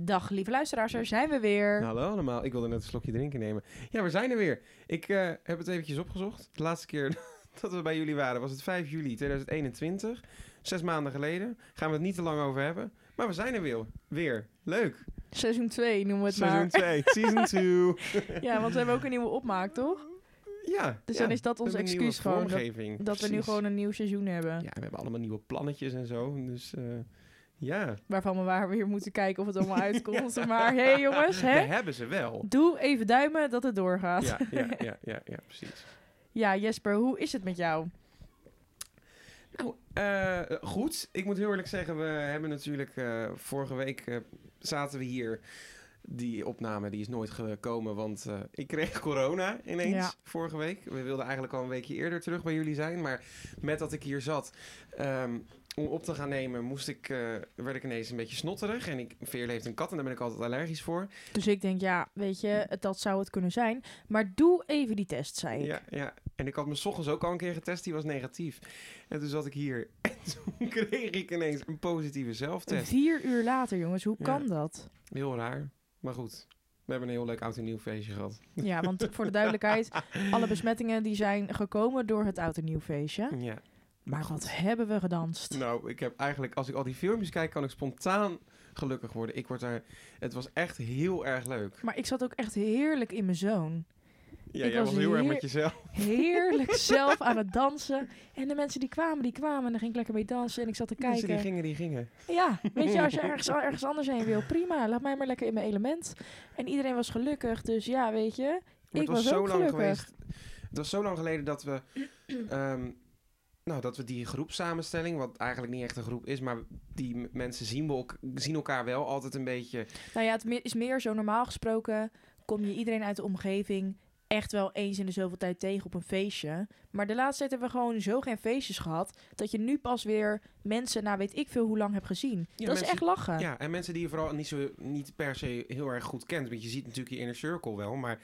Dag lieve luisteraars, daar zijn we weer. Nou, Hallo allemaal, ik wilde net een slokje drinken nemen. Ja, we zijn er weer. Ik eh, heb het eventjes opgezocht. De laatste keer dat we bij jullie waren was het 5 juli 2021. Zes maanden geleden. Gaan we het niet te lang over hebben. Maar we zijn er weer. weer. Leuk. Seizoen 2 noemen we het Seizoen 2. Season 2. maar. Ja, want we hebben ook een nieuwe opmaak, toch? Ja. Dus ja. dan is dat We ons hebben een nieuwe excuus gewoon. Dat, vormgeving. dat we nu Precies. gewoon een nieuw seizoen hebben. Ja, we hebben allemaal nieuwe plannetjes en zo. Dus eh, ja. Waarvan we waar weer moeten kijken of het allemaal uitkomt. Maar hé hey, jongens, hè? Ah, We hebben ze wel. Doe even duimen dat het doorgaat. Ja. Ja, ja, ja, ja, ja, precies. Jesper, hoe is het met jou? Nou, eh, goed. Ik moet heel eerlijk zeggen, we hebben natuurlijk eh, vorige week eh, zaten we hier. Die opname die is nooit gekomen, want eh, ik kreeg corona ineens Ja. vorige week. We wilden eigenlijk al een weekje eerder terug bij jullie zijn, maar met dat ik hier zat ehm, om op te gaan nemen, moest ik, eh, werd ik ineens een beetje snotterig. En ik, Veerle heeft een kat en daar ben ik altijd allergisch voor. Dus ik denk, ja, weet je, het- dat zou het kunnen zijn. Maar doe even die test, zei ik. Ja, ja, en ik had me 's ochtends ook al een keer getest, die was negatief. En toen zat ik hier en toen kreeg ik ineens een positieve zelftest. Vier uur later, jongens, hoe Ja. kan dat? Heel raar. Maar goed, we hebben een heel leuk oud en nieuw feestje gehad. Ja, want voor de duidelijkheid, alle besmettingen die zijn gekomen door het oud en nieuw feestje. Ja. Maar wat hebben we gedanst? Nou, ik heb eigenlijk, als ik al die filmpjes kijk, kan ik spontaan gelukkig worden. Ik word daar, het was echt heel erg leuk. Maar ik zat ook echt heerlijk in mijn zoon. Ja, Ik jij was was, heel erg heer- met jezelf. Heerlijk zelf aan het dansen. En de mensen die kwamen, die kwamen. En dan ging ik lekker mee dansen en ik zat te Mensen kijken. die gingen, die gingen. Ja, weet je, als je ergens, ergens anders heen wil, prima. Laat mij maar lekker in mijn element. En iedereen was gelukkig, dus ja, weet je. Maar Ik het was, was zo ook lang gelukkig. geweest. Het was zo lang geleden dat we, ehm, nou, dat we die groepsamenstelling, wat eigenlijk niet echt een groep is, maar die m- mensen zien, we elk- zien elkaar wel altijd een beetje. Nou ja, het me- is meer zo normaal gesproken. Kom je iedereen uit de omgeving echt wel eens in de zoveel tijd tegen op een feestje. Maar de laatste tijd hebben we gewoon zo geen feestjes gehad. Dat je nu pas weer mensen, na weet ik veel hoe lang hebt gezien. dat mensen- is echt lachen. Ja, en mensen die je vooral niet, zo, niet per se heel erg goed kent. Want je ziet natuurlijk je inner circle wel, maar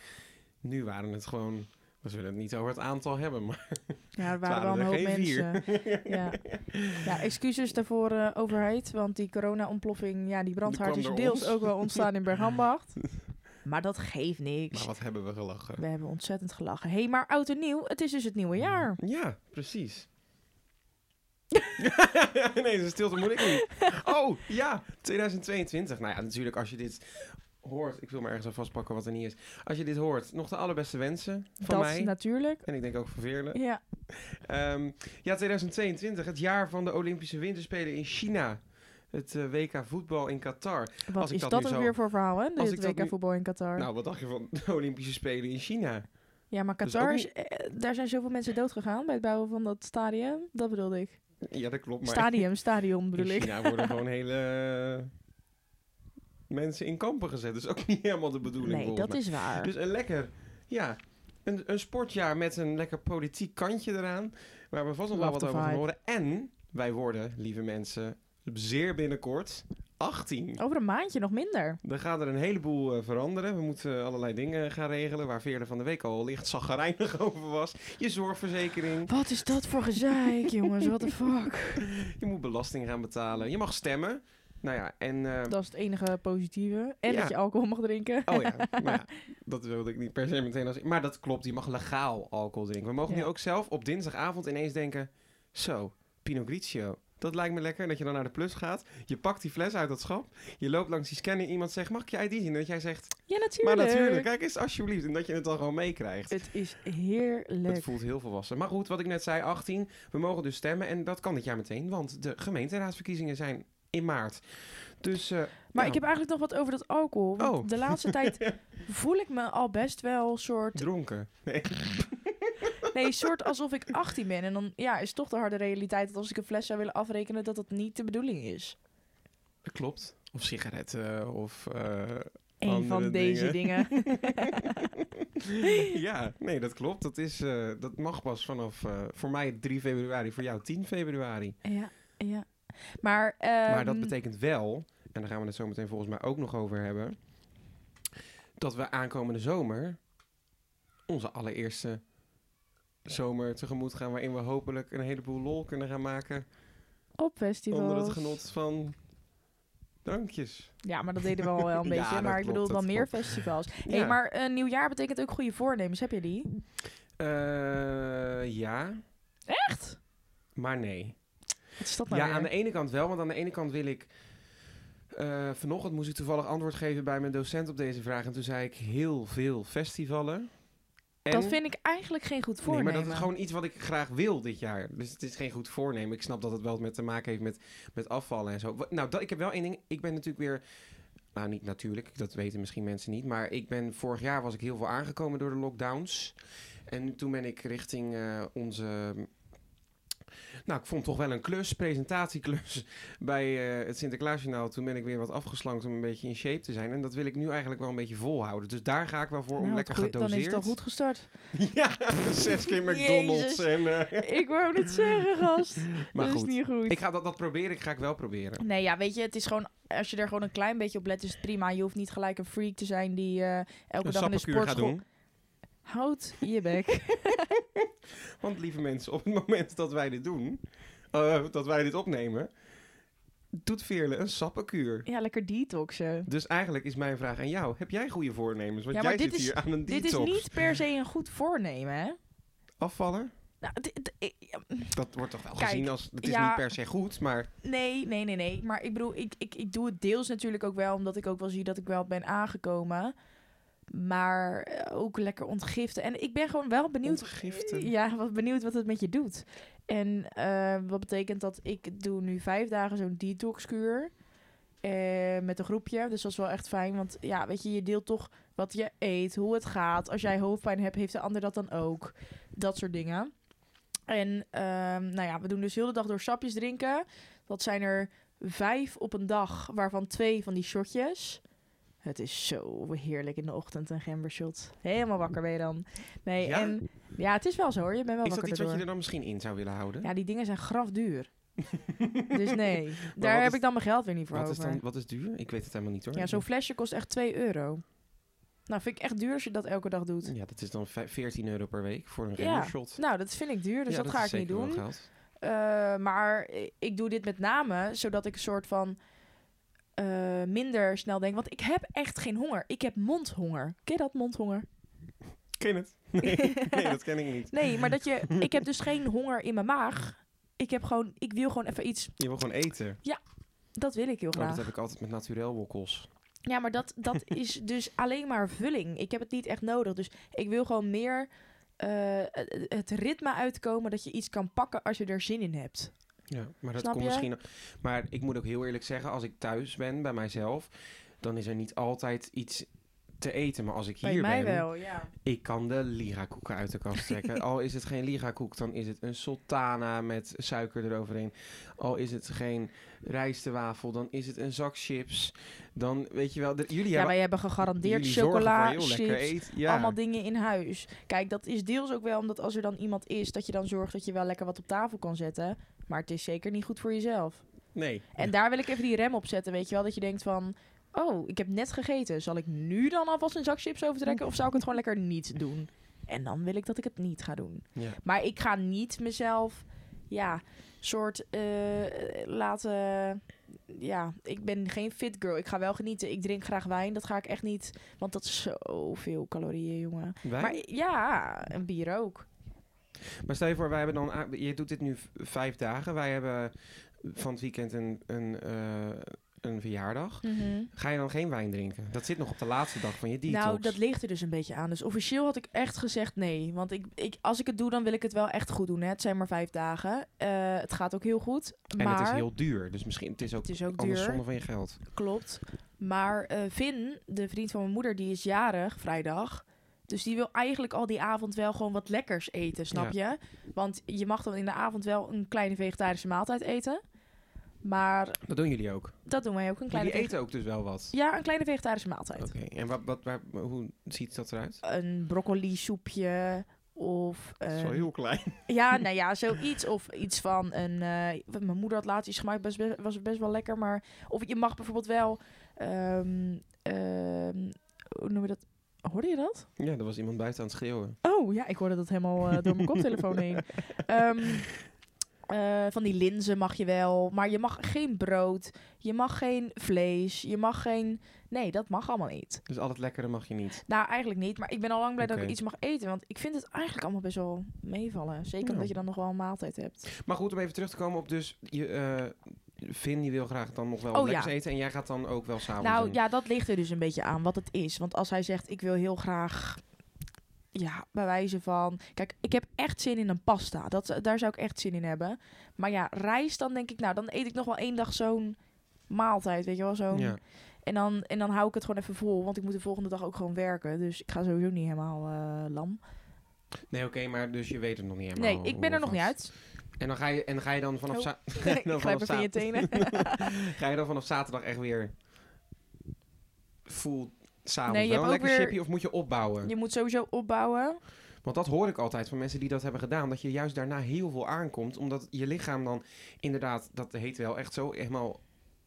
nu waren het gewoon... We zullen het niet over het aantal hebben, maar Ja, er het waren wel er een hoop geen mensen. vier. Ja. ja, excuses daarvoor, eh, overheid. Want die corona-ontploffing, ja, die brandhaard kwam is door deels ons. ook wel ontstaan in Bergambacht. Maar dat geeft maar niks. wat hebben we gelachen. We hebben ontzettend gelachen. Hé, hey, maar oud en nieuw, het is dus het nieuwe jaar. Ja, precies. nee, de stilte moet ik niet. Oh, ja, 2022. Nou ja, natuurlijk als je dit hoort... Ik wil maar ergens aan vastpakken wat er niet is. Als je dit hoort, nog de allerbeste wensen van dat mij. Eh, natuurlijk. en ik denk ook van Veerle. Ja, Ehm, ja, 2022, het jaar van de Olympische Winterspelen in China. Het eh, WK voetbal in Qatar. wat Als ik is dat dat, nu ook zo- weer voor verhaal, hè? Als Dit ik dat WK nu- voetbal in Qatar. Nou, wat dacht je van de Olympische Spelen in China? ja, maar dat is Qatar, ook is, eh, daar zijn zoveel mensen dood gegaan bij het bouwen van dat stadion. Dat bedoelde ik. Ja, dat klopt. Maar Stadium, stadion in bedoel ik. China worden gewoon hele eh, mensen in kampen gezet. Dus ook niet helemaal de bedoeling. Nee, volgens dat mij. is waar. Dus een lekker, ja, een, een sportjaar met een lekker politiek kantje eraan. Waar we vast nog wel Love wat the over gaan vibe. horen. En wij worden, lieve mensen, zeer binnenkort 18. Over een maandje nog minder. Dan gaat er een heleboel eh, veranderen. We moeten allerlei dingen gaan regelen. Waar Veerle van de week al licht zagrijnig over was. Je zorgverzekering. Wat is dat voor gezeik, jongens? What the fuck? Je moet belasting gaan betalen. Je mag stemmen. Nou ja, en... eh, Dat is het enige positieve. En Ja. dat je alcohol mag drinken. Oh ja, maar ja, dat wilde ik niet per se meteen als... Maar dat klopt, je mag legaal alcohol drinken. We mogen Ja. nu ook zelf op dinsdagavond ineens denken... Zo, Pinot Grigio, dat lijkt me lekker. En dat je dan naar de plus gaat. Je pakt die fles uit dat schap. Je loopt langs die scanner. Iemand zegt, mag ik je ID zien? En dat jij zegt, Ja, maar natuurlijk. natuurlijk. Kijk eens, alsjeblieft. En dat je het dan gewoon meekrijgt. Het is Het heerlijk. voelt heel volwassen. Maar goed, wat ik net zei, 18. We mogen dus stemmen en dat kan dit jaar meteen, want de gemeenteraadsverkiezingen zijn in maart. Dus eh, Maar Ja. ik heb eigenlijk nog wat over dat alcohol. Want Oh. de laatste tijd voel ik me al best wel soort... dronken. Nee. Nee, soort alsof ik 18 ben. En dan ja, is toch de harde realiteit dat als ik een fles zou willen afrekenen... dat dat niet de bedoeling is. Klopt. Of sigaretten, of... eh, Een Andere van deze dingen. ja, nee, dat klopt. Dat, is, eh, dat mag pas vanaf, eh, voor mij 3 februari, voor jou 10 februari. ja, ja. Maar, maar dat ehm, betekent wel, en daar gaan we het zo meteen volgens mij ook nog over hebben... dat we aankomende zomer onze allereerste zomer tegemoet gaan... waarin we hopelijk een heleboel lol kunnen gaan maken... Op festivals. Onder het genot van Drankjes. Ja, maar dat deden we al wel een Ja, beetje. dat Maar ik klopt, bedoel dat dan meer festivals. Hé, Ja. hey, maar een nieuwjaar betekent ook goede voornemens. Heb je die? Eh, ja, Echt? maar nee. Wat is dat nou Ja, weer? aan de ene kant wel, want aan de ene kant wil ik... eh, vanochtend moest ik toevallig antwoord geven bij mijn docent op deze vraag. En toen zei ik heel veel festivalen. En Dat vind ik eigenlijk geen goed voornemen. Nee, maar dat is gewoon iets wat ik graag wil dit jaar. Dus het is geen goed voornemen. Ik snap dat het wel met te maken heeft met, met afvallen en zo. Wa- Nou, dat, ik heb wel één ding. Ik ben natuurlijk weer... Nou, niet natuurlijk. Dat weten misschien mensen niet. Maar ik ben... Vorig jaar was ik heel veel aangekomen door de lockdowns. En toen ben ik richting eh, onze... Nou, ik vond toch wel een klus, presentatieklus bij eh, het Sinterklaasjournaal. Toen ben ik weer wat afgeslankt om een beetje in shape te zijn. En dat wil ik nu eigenlijk wel een beetje volhouden. Dus daar ga ik wel voor Nou, om wat lekker goeie- gedoseerd. Dan is het al goed gestart. Ja, zes keer McDonald's. Jezus. En, eh, ik wou het zeggen, gast. maar dat goed, is niet goed. ik ga dat, dat proberen. Ik ga ik wel proberen. Nee, ja, weet je, het is gewoon... Als je er gewoon een klein beetje op let, is het prima. Je hoeft niet gelijk een freak te zijn die eh, elke dag in de sappenkuur ga sportschool... doen. Houd je bek. Want lieve mensen, op het moment dat wij dit doen, eh, dat wij dit opnemen, doet Veerle een sappenkuur. ja, lekker detoxen. Dus eigenlijk is mijn vraag aan jou: heb jij goede voornemens? Want Ja, maar jij dit zit is- hier aan een Dit detox. is niet per se een goed voornemen, hè? Afvallen? Nou, dit- dit- ik- Dat wordt toch wel Kijk, gezien als. Het is ja. niet per se goed, maar. Nee, nee, nee, nee. Maar ik bedoel, ik, ik, ik doe het deels natuurlijk ook wel, omdat ik ook wel zie dat ik wel ben aangekomen. Maar eh, ook lekker ontgiften. En ik ben gewoon wel benieuwd. Ontgiften. Ja, wat benieuwd wat het met je doet. En eh, wat betekent dat ik doe nu vijf dagen zo'n detoxkuur. eh, met een groepje. Dus dat is wel echt fijn. Want ja, weet je, je deelt toch wat je eet, hoe het gaat. Als jij hoofdpijn hebt, heeft de ander dat dan ook. Dat soort dingen. En ehm, nou ja, we doen dus heel de dag door sapjes drinken. Dat zijn er vijf op een dag, waarvan twee van die shotjes. Het is zo heerlijk in de ochtend een gembershot. Helemaal wakker ben je dan. Nee, Ja? en ja, het is wel zo hoor. Je bent wel Is dat wakker iets wat je daardoor. er dan misschien in zou willen houden? Ja, die dingen zijn grafduur. dus nee, daar wat heb is- ik dan mijn geld weer niet voor wat, is over. dan, wat is duur? Ik weet het helemaal niet hoor. Ja, zo'n flesje kost echt 2 euro. Nou, vind ik echt duur als je dat elke dag doet. Ja, dat is dan vij- 14 euro per week voor een Ja. remmershot. Nou, dat vind ik duur, dus Ja, dat, ga is ik niet zeker wel doen. geld. Eh, maar i- ik doe dit met name zodat ik een soort van eh, minder snel denk. Want ik heb echt geen honger. Ik heb mondhonger. Ken je dat, mondhonger? Ken het? Nee, nee, dat ken ik niet. Nee, maar dat je... Ik heb dus geen honger in mijn maag. Ik heb gewoon... Ik wil gewoon even iets... Je wil gewoon eten. Dat wil ik heel Oh, graag. dat heb ik altijd met naturel wokkels. Ja, maar dat, dat is dus alleen maar vulling. Ik heb het niet echt nodig. Dus ik wil gewoon meer eh, het ritme uitkomen dat je iets kan pakken als je er zin in hebt. Ja, maar dat Snap komt je? misschien... Maar ik moet ook heel eerlijk zeggen, als ik thuis ben bij mijzelf... dan is er niet altijd iets te eten. Maar als ik hier Bij mij ben, wel, ja. ik kan de lirakoeken uit de kast trekken. Al is het geen lirakoek, dan is het een sultana met suiker eroverheen. Al is het geen rijstewafel, dan is het een zak chips. Dan, weet je wel... de- jullie Ja, hebben... wij hebben gegarandeerd jullie zorgen chocola, voor, joh, lekker chips, eten. Ja. allemaal dingen in huis. Kijk, dat is deels ook wel omdat als er dan iemand is, dat je dan zorgt dat je wel lekker wat op tafel kan zetten. Maar het is zeker niet goed voor jezelf. Nee. En daar wil ik even die rem op zetten, weet je wel? Dat je denkt van, oh, ik heb net gegeten. Zal ik nu dan alvast een zak chips overtrekken? Of zou ik het gewoon lekker niet doen? En dan wil ik dat ik het niet ga doen. Ja. Maar ik ga niet mezelf, ja, soort eh, laten... Ja, ik ben geen fit girl. Ik ga wel genieten. Ik drink graag wijn. Dat ga ik echt niet... Want dat is zoveel calorieën, jongen. Wij? Maar ja, een bier ook. Maar stel je voor, wij hebben dan. a- Je doet dit nu v- vijf dagen. Wij hebben van het weekend een, een, eh, een verjaardag. Ga je dan geen wijn drinken? Dat zit nog op de laatste dag van je detox. Nou, dat ligt er dus een beetje aan. Dus officieel had ik echt gezegd nee. Want ik, ik, als ik het doe, dan wil ik het wel echt goed doen. Hè. Het zijn maar vijf dagen. Eh, het gaat ook heel goed. en maar het is heel duur. Dus misschien het is ook, het is ook anders duur. zonde van je geld. Klopt. Maar eh Vin, de vriend van mijn moeder, die is jarig vrijdag. Dus die wil eigenlijk al die avond wel gewoon wat lekkers eten, snap je? Want je mag dan in de avond wel een kleine vegetarische maaltijd eten. Maar Dat doen jullie ook. dat doen wij ook, een kleine, Jullie vege- eten ook dus wel wat. ja, een kleine vegetarische maaltijd. Oké. En wat, wat, waar- hoe ziet dat eruit? Een broccoli soepje of... Het is een- wel heel klein. Ja, nou ja, zoiets. Of iets van een. eh, wat mijn moeder had laatst iets gemaakt, best, best- was best wel lekker. Maar. Of je mag bijvoorbeeld wel. ehm, ehm, hoe noem je dat? Hoorde je dat? Ja, er was iemand buiten aan het schreeuwen. Oh ja, ik hoorde dat helemaal eh, door mijn koptelefoon heen. Ehm, Eh, van die linzen mag je wel, maar je mag geen brood, je mag geen vlees, je mag geen... Nee, dat mag allemaal niet. Dus al het lekkere mag je niet. Nou, eigenlijk niet, maar ik ben al lang blij dat Oké. ik iets mag eten, want ik vind het eigenlijk allemaal best wel meevallen. Zeker Ja. omdat je dan nog wel een maaltijd hebt. Maar goed, om even terug te komen op dus... Je, eh, Vin, die wil graag dan nog wel Oh, wat lekkers ja. eten. En jij gaat dan ook wel s'avonds nou doen. ja, dat ligt er dus een beetje aan wat het is. Want als hij zegt, ik wil heel graag... Ja, bij wijze van... Kijk, ik heb echt zin in een pasta. Dat, daar zou ik echt zin in hebben. Maar ja, rijst dan denk ik... Nou, dan eet ik nog wel één dag zo'n maaltijd, weet je wel? Zo'n Ja. En dan, en dan hou ik het gewoon even vol, want ik moet de volgende dag ook gewoon werken. Dus ik ga sowieso niet helemaal eh, lam. Nee, oké, maar dus je weet het nog niet helemaal. nee, ik ben er nog niet uit. alvast. En dan ga je, en dan ga je dan vanaf, Oh. za- ga je ik dan grijp vanaf even in je za- tenen. ga je dan vanaf zaterdag echt weer full s'avonds Nee, je wel een hebt ook lekker weer- chipje of moet je opbouwen? Je moet sowieso opbouwen. Want dat hoor ik altijd van mensen die dat hebben gedaan. Dat je juist daarna heel veel aankomt. Omdat je lichaam dan inderdaad, dat heet wel echt zo, helemaal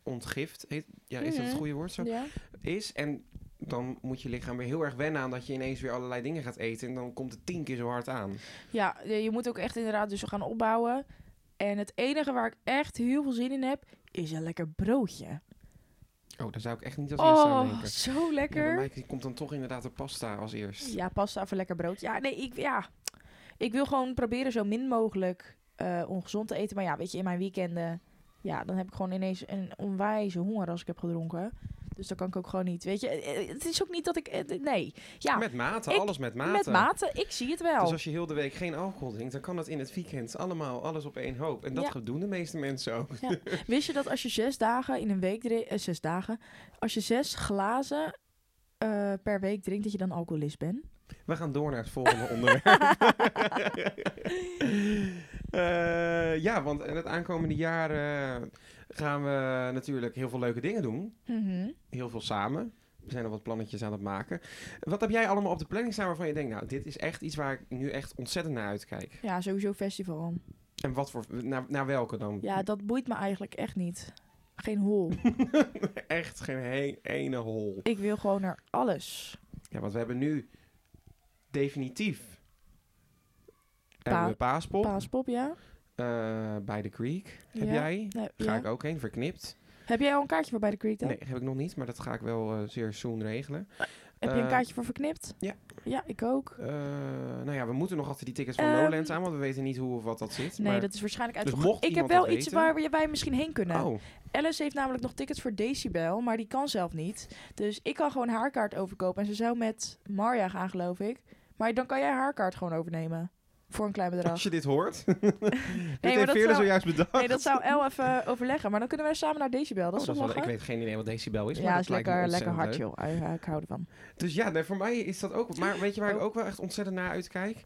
ontgift. Heet, ja, is dat het Mhm. goede woord zo? Ja. Is. En dan moet je lichaam weer heel erg wennen aan dat je ineens weer allerlei dingen gaat eten. En dan komt het tien keer zo hard aan. ja, je je moet ook echt inderdaad dus gaan opbouwen. En het enige waar ik echt heel veel zin in heb, is een lekker broodje. Oh, daar zou ik echt niet als eerste aan Oh, denken. zo Ja, bij lekker. mij komt dan toch inderdaad de pasta als eerst. Ja, pasta of een lekker broodje. Ja, nee, ik, ja. ik wil gewoon proberen zo min mogelijk eh, ongezond te eten. Maar ja, weet je, in mijn weekenden... Ja, dan heb ik gewoon ineens een onwijze honger als ik heb gedronken. Dus dan kan ik ook gewoon niet, weet je. Eh, eh, Het is ook niet dat ik... eh, Nee, ja, Met mate, ik- alles met mate. met mate, ik zie het wel. Dus als je heel de week geen alcohol drinkt, dan kan dat in het weekend allemaal alles op één hoop. En dat Ja. doen de meeste mensen ook. Wist je dat als je zes dagen in een week drinkt... zes dagen. Als je zes glazen eh, per week drinkt, dat je dan alcoholist bent? We gaan door naar het volgende onderwerp. Eh, ja, want in het aankomende jaar eh, gaan we natuurlijk heel veel leuke dingen doen. Mhm. Heel veel samen. We zijn al wat plannetjes aan het maken. Wat heb jij allemaal op de planning staan waarvan je denkt, nou, dit is echt iets waar ik nu echt ontzettend naar uitkijk? Ja, sowieso festival. En wat voor, naar, naar welke dan? Ja, dat boeit me eigenlijk echt niet. Geen hol. Echt geen he- ene hol. ik wil gewoon naar alles. Ja, want we hebben nu definitief Pa- hebben we Paaspop Paaspop, ja. eh, bij de Creek. Heb Ja. jij? Nee, Ga ja. ik ook heen, verknipt. Heb jij al een kaartje voor bij de Creek dan? Nee, heb ik nog niet, maar dat ga ik wel eh, zeer soon regelen. Heb je een eh, kaartje voor verknipt? ja. Ja, ik ook. Eh, nou ja, we moeten nog altijd die tickets van Ehm, Lowlands aan, want we weten niet hoe of wat dat zit. Nee, maar- dat is waarschijnlijk Dus uit. mocht ik heb iemand wel dat iets weten- waar we- wij misschien heen kunnen. Oh, Alice heeft namelijk nog tickets voor Decibel, maar die kan zelf niet. Dus ik kan gewoon haar kaart overkopen. En ze zou met Marja gaan, geloof ik. Maar dan kan jij haar kaart gewoon overnemen. Voor een klein bedrag. als je dit hoort. dit heeft dat Veerle zou- zojuist bedacht. Nee, dat zou El even overleggen. Maar dan kunnen wij samen naar Decibel. Dat Oh, is dat toch is wel- ik lachen? weet geen idee wat decibel is, maar Ja, dat is lijkt me lekker, lekker ontzettend hard, leuk. joh. Eh, Ik hou ervan. Dus ja, nee, voor mij is dat ook. Maar weet je waar ik Oh. ook wel echt ontzettend naar uitkijk?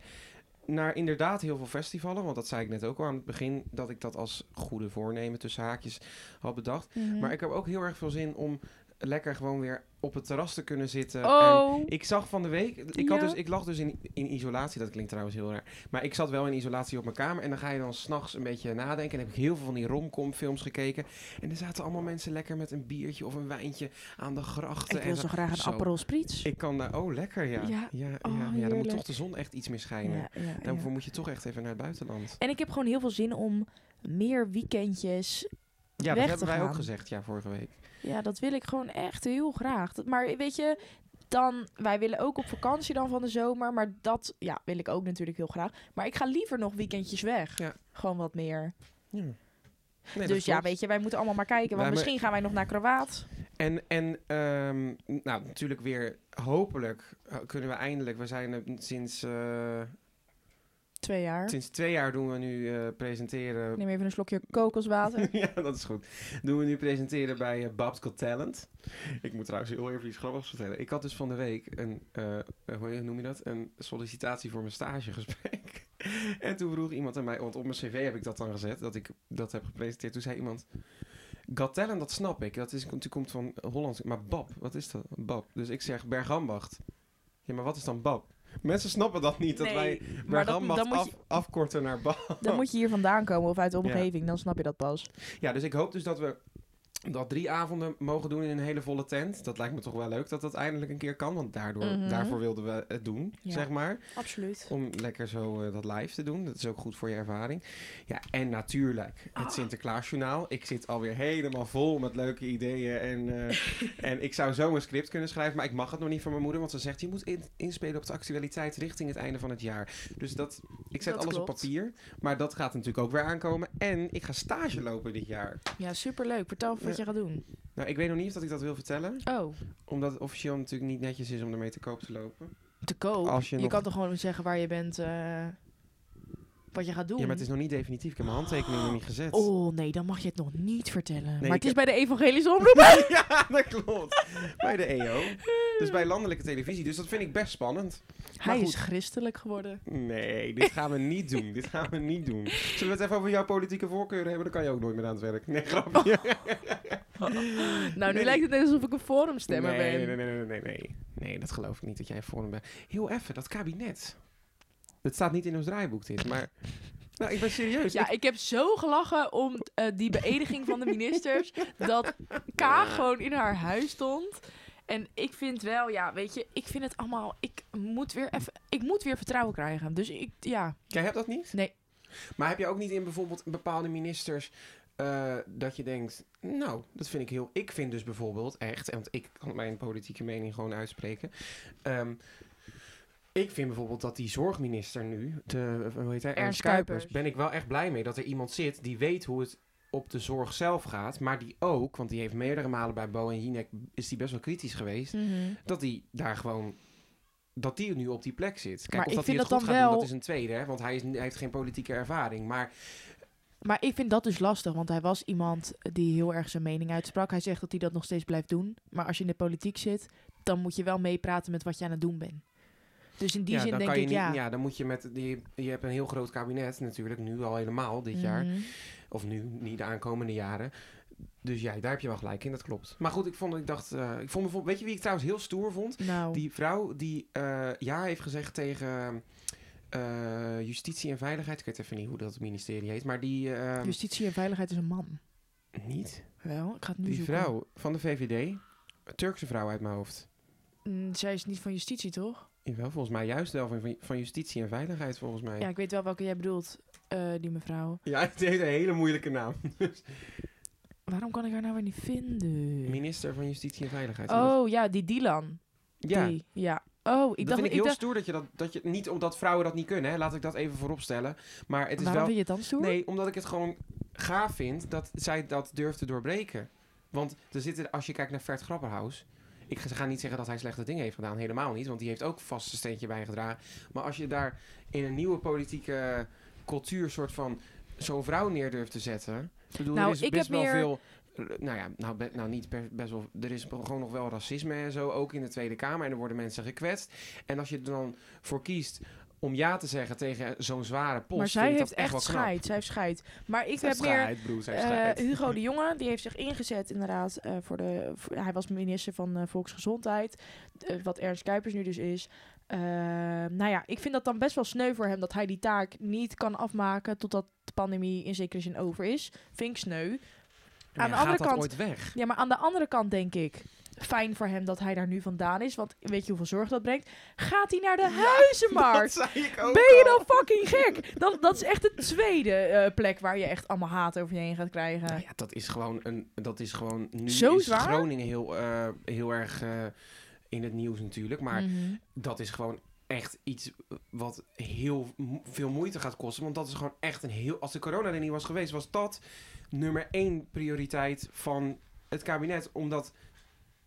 Naar inderdaad heel veel festivalen. Want dat zei ik net ook al aan het begin. Dat ik dat als goede voornemen tussen haakjes had bedacht. Mhm. Mm. Maar ik heb ook heel erg veel zin om lekker gewoon weer op het terras te kunnen zitten. eh, En Oh, ik zag van de week. Ik, had Ja. dus, ik lag dus in, in isolatie. Dat klinkt trouwens heel raar. Maar ik zat wel in isolatie op mijn kamer. En dan ga je dan s'nachts een beetje nadenken. En heb ik heel veel van die romcom films gekeken. En er zaten allemaal mensen lekker met een biertje of een wijntje aan de grachten. ik en wil zo graag Zo. een Aperol Spritz. ik kan daar, oh lekker ja. Ja, Ja. ja, ja, Oh, dan moet heerlijk. toch de zon echt iets meer schijnen. Ja, ja, ja. Daarvoor moet je toch echt even naar het buitenland. En ik heb gewoon heel veel zin om meer weekendjes. Ja, dat Weg hebben te wij ook gaan. gezegd, ja, vorige week. Ja, dat wil ik gewoon echt heel graag. Dat, maar weet je, dan, wij willen ook op vakantie dan van de zomer. Maar dat ja, wil ik ook natuurlijk heel graag. Maar ik ga liever nog weekendjes weg. Ja. Gewoon wat meer. Ja. Nee, dat dus ja, klopt. weet je, wij moeten allemaal maar kijken. Want Wij- misschien gaan wij nog naar Kroaat. En, en ehm, nou, natuurlijk weer, hopelijk eh, kunnen we eindelijk, we zijn er sinds, eh, Twee jaar. sinds twee jaar doen we nu eh, presenteren. Ik neem even een slokje kokoswater. ja, dat is goed. Doen we nu presenteren bij eh, Babs Got Talent. Ik moet trouwens heel even iets grappigs vertellen. Ik had dus van de week een, eh, eh, hoe noem je dat? Een sollicitatie voor mijn stagegesprek. en toen vroeg iemand aan mij, want op mijn cv heb ik dat dan gezet, dat ik dat heb gepresenteerd. Toen zei iemand, Got Talent, dat snap ik. Dat is, die komt van Hollands. Maar Bab, wat is dat? Bab. Dus ik zeg Bergambacht. Ja, maar wat is dan Bab? Mensen snappen dat niet, dat Nee, wij maar dat- Bergambacht dan moet af, je- afkorten naar Bab. Dan moet je hier vandaan komen of uit de Ja. omgeving. Dan snap je dat pas. Ja, dus ik hoop dus dat we dat drie avonden mogen doen in een hele volle tent. Dat lijkt me toch wel leuk dat dat eindelijk een keer kan. Want daardoor, Mhm. daarvoor wilden we het doen, Ja. zeg maar. Absoluut. Om lekker zo eh, dat live te doen. Dat is ook goed voor je ervaring. Ja, en natuurlijk het Ah. Sinterklaasjournaal. Ik zit alweer helemaal vol met leuke ideeën. En, eh, en ik zou zo een script kunnen schrijven. Maar ik mag het nog niet van mijn moeder. Want ze zegt, je moet in- inspelen op de actualiteit richting het einde van het jaar. Dus dat, ik zet Dat alles op klopt. papier. Maar dat gaat natuurlijk ook weer aankomen. En ik ga stage lopen dit jaar. Ja, superleuk. Vertel wat Ja. je gaat doen. Nou, ik weet nog niet of dat ik dat wil vertellen. Oh, Omdat het officieel natuurlijk niet netjes is om ermee te koop te lopen. te koop. Als je je nog- kan toch gewoon zeggen waar je bent, eh, wat je gaat doen. Ja, maar het is nog niet definitief. Ik heb mijn handtekening nog niet gezet. Oh nee, dan mag je het nog niet vertellen. maar ik het is heb- bij de evangelische omroep. Ja, dat klopt. bij de EO. Dus bij landelijke televisie. Dus dat vind ik best spannend. Hij goed. is christelijk geworden. Nee, dit gaan we niet doen. Dit gaan we niet doen. Zullen we het even over jouw politieke voorkeuren hebben? Dan kan je ook nooit meer aan het werk. Nee, grapje. Oh, Nou, nu Nee. lijkt het net alsof ik een forumstemmer nee, ben. nee, nee, nee, nee, nee, nee. Nee, dat geloof ik niet dat jij voor hem bent. Heel even, dat kabinet. Dat staat niet in ons draaiboek dit, maar... Nou, ik ben serieus. Dus Ja, ik heb zo gelachen om eh, die beëdiging van de ministers. dat K gewoon in haar huis stond. En ik vind wel, ja, weet je, ik vind het allemaal. Ik moet weer even. Ik moet weer vertrouwen krijgen. Dus ik, ja. Jij hebt dat niet? Nee. Maar heb je ook niet in bijvoorbeeld bepaalde ministers eh, dat je denkt, nou, dat vind ik heel... Ik vind dus bijvoorbeeld echt, en want ik kan mijn politieke mening gewoon uitspreken. ehm, ik vind bijvoorbeeld dat die zorgminister nu, de, hoe heet hij? Ernst Kuipers. Ben ik wel echt blij mee dat er iemand zit die weet hoe het op de zorg zelf gaat. Maar die ook, want die heeft meerdere malen bij Bo en Hinek, is die best wel kritisch geweest. Dat die daar gewoon. Dat die nu op die plek zit. Kijk, Maar of ik dat hij vind het dat goed dan gaat doen, wel- dat is een tweede. Hè? Want hij, is, hij heeft geen politieke ervaring. Maar Maar ik vind dat dus lastig, want hij was iemand eh, die heel erg zijn mening uitsprak. Hij zegt dat hij dat nog steeds blijft doen. Maar als je in de politiek zit, dan moet je wel meepraten met wat je aan het doen bent. Dus in die ja, zin dan denk kan ik, je niet. ja. dan moet je met. Die, je hebt een heel groot kabinet natuurlijk. Nu al helemaal dit jaar. Mhm. Of nu, niet de aankomende jaren. Dus ja, daar heb je wel gelijk in. Dat klopt. Maar goed, ik vond. Ik dacht. eh, ik vond bijvoorbeeld. Weet je wie ik trouwens heel stoer vond? Nou, Die vrouw die eh, ja heeft gezegd tegen. eh, justitie en veiligheid. Ik weet even niet hoe dat ministerie heet. Maar die. eh, justitie en veiligheid is een man. niet. Wel, ik ga het nu Die zoeken. vrouw van de VVD, een Turkse vrouw uit mijn hoofd. Mm, zij is niet van justitie, toch? Jawel, volgens mij juist wel van, van justitie en veiligheid, volgens mij. Ja, ik weet wel welke jij bedoelt, eh, die mevrouw. Ja, het heeft een hele moeilijke naam. Waarom kan ik haar nou weer niet vinden? Minister van Justitie en Veiligheid. Oh, ja, die Dylan. ja. Die, ja. Oh, dat ik dacht... vind ik Ik heel dacht stoer dat je dat, dat je niet omdat vrouwen dat niet kunnen, hè, laat ik dat even vooropstellen. Maar het is waarom wel. vind je het dan stoer? Nee, omdat ik het gewoon gaaf vind dat zij dat durft te doorbreken. Want er zitten, als je kijkt naar Vert Grapperhaus. Ik ga- ga niet zeggen dat hij slechte dingen heeft gedaan, helemaal niet. Want die heeft ook vast zijn steentje bijgedragen. Maar als je daar in een nieuwe politieke cultuur soort van zo'n vrouw neer durft te zetten. Ik bedoel, Nou, er is ik best heb wel meer- veel... eh, Nou ja, nou, be- nou niet per- best wel... Er is gewoon nog wel racisme en zo, ook in de Tweede Kamer. En er worden mensen gekwetst. En als je er dan voor kiest om ja te zeggen tegen zo'n zware post... maar vind zij ik dat heeft echt wel knap. scheid. Zij heeft scheid. Maar ik Zij heb heeft meer... scheid, broer, zij Eh, heeft scheid. Hugo de Jonge, die heeft zich ingezet inderdaad eh, voor de... voor- hij was minister van eh, Volksgezondheid, eh, wat Ernst Kuipers nu dus is. Eh, nou ja, ik vind dat dan best wel sneu voor hem dat hij die taak niet kan afmaken totdat de pandemie in zekere zin over is. Vind ik sneu. Maar aan de gaat andere dat kant- ooit weg? Ja, maar aan de andere kant denk ik, fijn voor hem dat hij daar nu vandaan is, want weet je hoeveel zorg dat brengt? Gaat hij naar de huizenmarkt? Dat zei ik ook Ben je al. dan fucking gek? Dat, dat is echt de tweede eh, plek waar je echt allemaal haat over je heen gaat krijgen. Nou ja, dat is gewoon een... Dat is gewoon... Nu Zo is zwaar? Groningen heel, eh, heel erg eh, in het nieuws natuurlijk. Maar Mhm. dat is gewoon echt iets wat heel mo- veel moeite gaat kosten. Want dat is gewoon echt een heel... Als de corona er niet was geweest, was dat nummer één prioriteit van het kabinet. Omdat